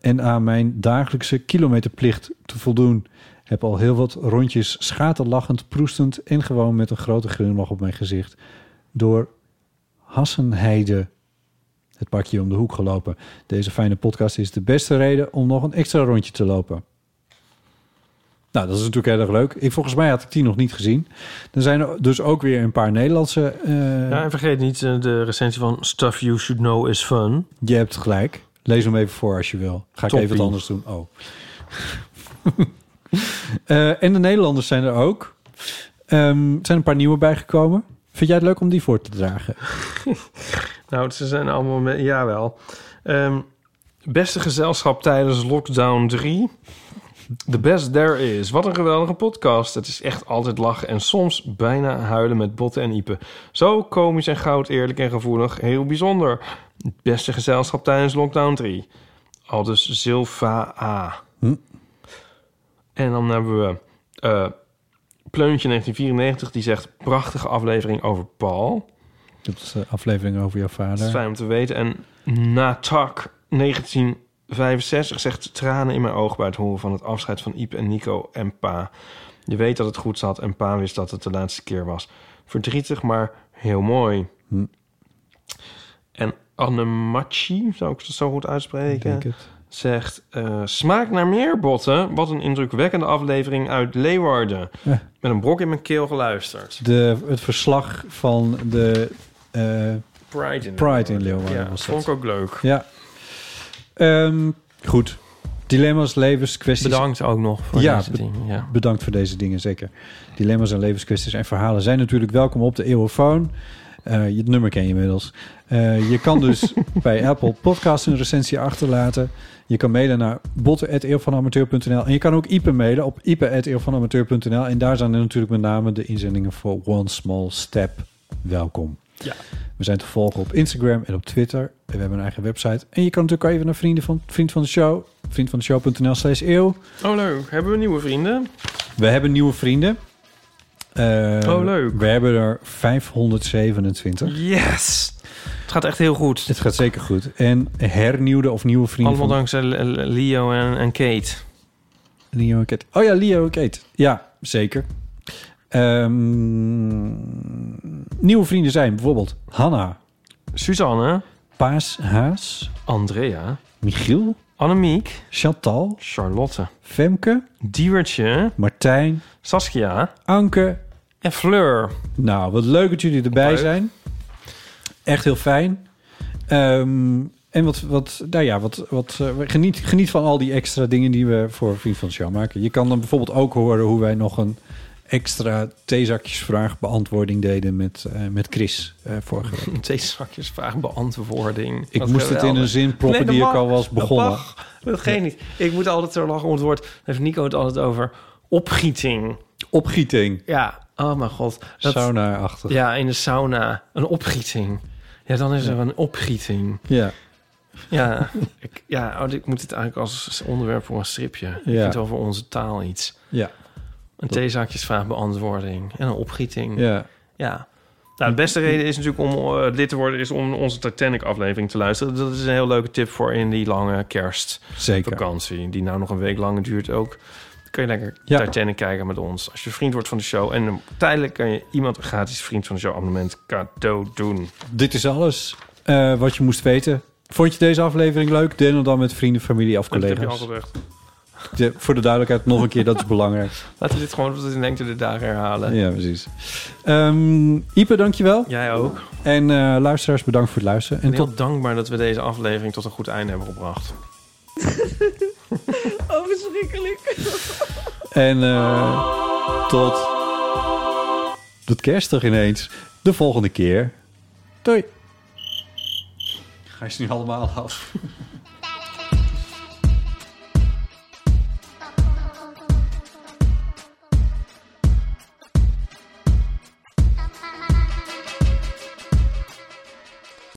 en aan mijn dagelijkse kilometerplicht te voldoen. Heb al heel wat rondjes schaterlachend, proestend en gewoon met een grote glimlach op mijn gezicht door Hassenheide het parkje om de hoek gelopen. Deze fijne podcast is de beste reden om nog een extra rondje te lopen. Nou, dat is natuurlijk heel erg leuk. Ik, volgens mij had ik die nog niet gezien. Er zijn er dus ook weer een paar Nederlandse... eh,
Ja, en vergeet niet eh, de recensie van Stuff You Should Know Is Fun.
Je hebt gelijk. Lees hem even voor als je wil. Ga ik
Toppie.
even wat anders doen. Oh. Eh, en de Nederlanders zijn er ook. Ehm, er zijn een paar nieuwe bijgekomen. Vind jij het leuk om die voor te dragen?
Nou, ze zijn allemaal... Me- Jawel. Ehm beste gezelschap tijdens lockdown 3. The best there is. Wat een geweldige podcast. Het is echt altijd lachen en soms bijna huilen met botten en iepen. Zo komisch en goud, eerlijk en gevoelig. Heel bijzonder. Beste gezelschap tijdens lockdown 3. Al dus Silva A. En dan hebben we eh, Pleuntje 1994. Die zegt, prachtige aflevering over Paul.
Dat is de aflevering over jouw
Dat is
vader.
fijn om te weten. En Natak 1965 zegt tranen in mijn oog bij het horen van het afscheid van Iep en Nico en pa. Je weet dat het goed zat en pa wist dat het de laatste keer was. Verdrietig, maar heel mooi.
Hm.
En Annemachi, zou ik het zo goed uitspreken?
Ik denk het.
Zegt, eh, smaak naar meer botten. Wat een indrukwekkende aflevering uit Leeuwarden.
Ja.
Met een brok in mijn keel geluisterd.
De, het verslag van de... eh,
Pride in
Pride
Leeuwarden.
in Leeuwarden
Ja,
was dat.
vond ik ook leuk.
Ja. Ehm, goed. Dilemma's, levenskwesties.
Bedankt ook nog voor
ja,
deze
be-
dingen, ja.
bedankt voor deze dingen, zeker. Dilemma's en levenskwesties en verhalen zijn natuurlijk welkom op de Eeuwofoon. Eh, je het nummer ken je inmiddels. Eh, je kan dus bij Apple Podcasts een recensie achterlaten. Je kan mailen naar botten.eeuwvanamateur.nl. En je kan ook Ipe mailen op ipe.eeuwvanamateur.nl. En daar zijn er natuurlijk met name de inzendingen voor One Small Step welkom.
Ja.
We zijn te volgen op Instagram en op Twitter. En we hebben een eigen website. En je kan natuurlijk ook even naar vrienden van, vriend van de show. Vriendvandeshow.nl slash eeuw.
Oh leuk, hebben we nieuwe vrienden?
We hebben nieuwe vrienden. Eh,
Oh, leuk.
We hebben er 527.
Yes! Het gaat echt heel goed.
Het gaat zeker goed. En hernieuwde of nieuwe vrienden
Allemaal
van
dankzij Le- Le- Leo en, en Kate.
Leo en Kate. Oh ja, Leo en Kate. Ja, zeker. Ehm, nieuwe vrienden zijn bijvoorbeeld Hanna.
Suzanne.
Paas Haas.
Andrea.
Michiel.
Annemiek.
Chantal.
Charlotte.
Femke.
Diewertje.
Martijn.
Saskia.
Anke.
En Fleur.
Nou, wat leuk dat jullie erbij zijn. Echt heel fijn. Ehm, en wat, wat, nou ja, wat, wat, eh, geniet, geniet van al die extra dingen die we voor Vriend van de Show maken. Je kan dan bijvoorbeeld ook horen hoe wij nog een extra theezakjesvraag beantwoording deden met, eh, met Chris eh, vorige week.
Theezakjes vraagbeantwoording.
Ik moest het in een zin proppen die ik al was begonnen.
Dat, mag. dat geeft niet. Ik moet altijd zo lachen om het woord. Daar heeft Nico het altijd over. Opgieting.
Opgieting.
Ja. Oh mijn god.
Sauna-achtig.
Ja, in de sauna. Een opgieting. Ja, dan is er een opgieting.
Ja.
Ja, ik, ja oh, ik moet dit eigenlijk als onderwerp voor een stripje. Ik
Ja.
vind over onze taal iets.
Ja.
Een theezakjesvraagbeantwoording en een opgieting.
Ja.
ja. Nou, de beste reden is natuurlijk om eh, lid te worden... is om onze Titanic-aflevering te luisteren. Dat is een heel leuke tip voor in die lange kerstvakantie... die nou nog een week lang duurt ook. Dan kun je lekker
Ja.
Titanic kijken met ons... als je vriend wordt van de show. En dan tijdelijk kan je iemand een gratis vriend van de show abonnement cadeau doen.
Dit is alles eh, wat je moest weten. Vond je deze aflevering leuk? Deel hem dan met vrienden, familie of
Dat heb je al
collega's.
gezegd.
De- voor de duidelijkheid nog een keer, dat is belangrijk.
Laten we dit gewoon tot in lengte de dagen herhalen.
Ja, precies. Ehm Ipe, dankjewel.
Jij ook.
En eh, luisteraars, bedankt voor het luisteren. En
Ik ben
tot...
heel dankbaar dat we deze aflevering tot een goed einde hebben gebracht.
Oh, verschrikkelijk.
En eh, tot... Dat kerstig ineens. De volgende keer. Doei. Ga je ze nu allemaal af?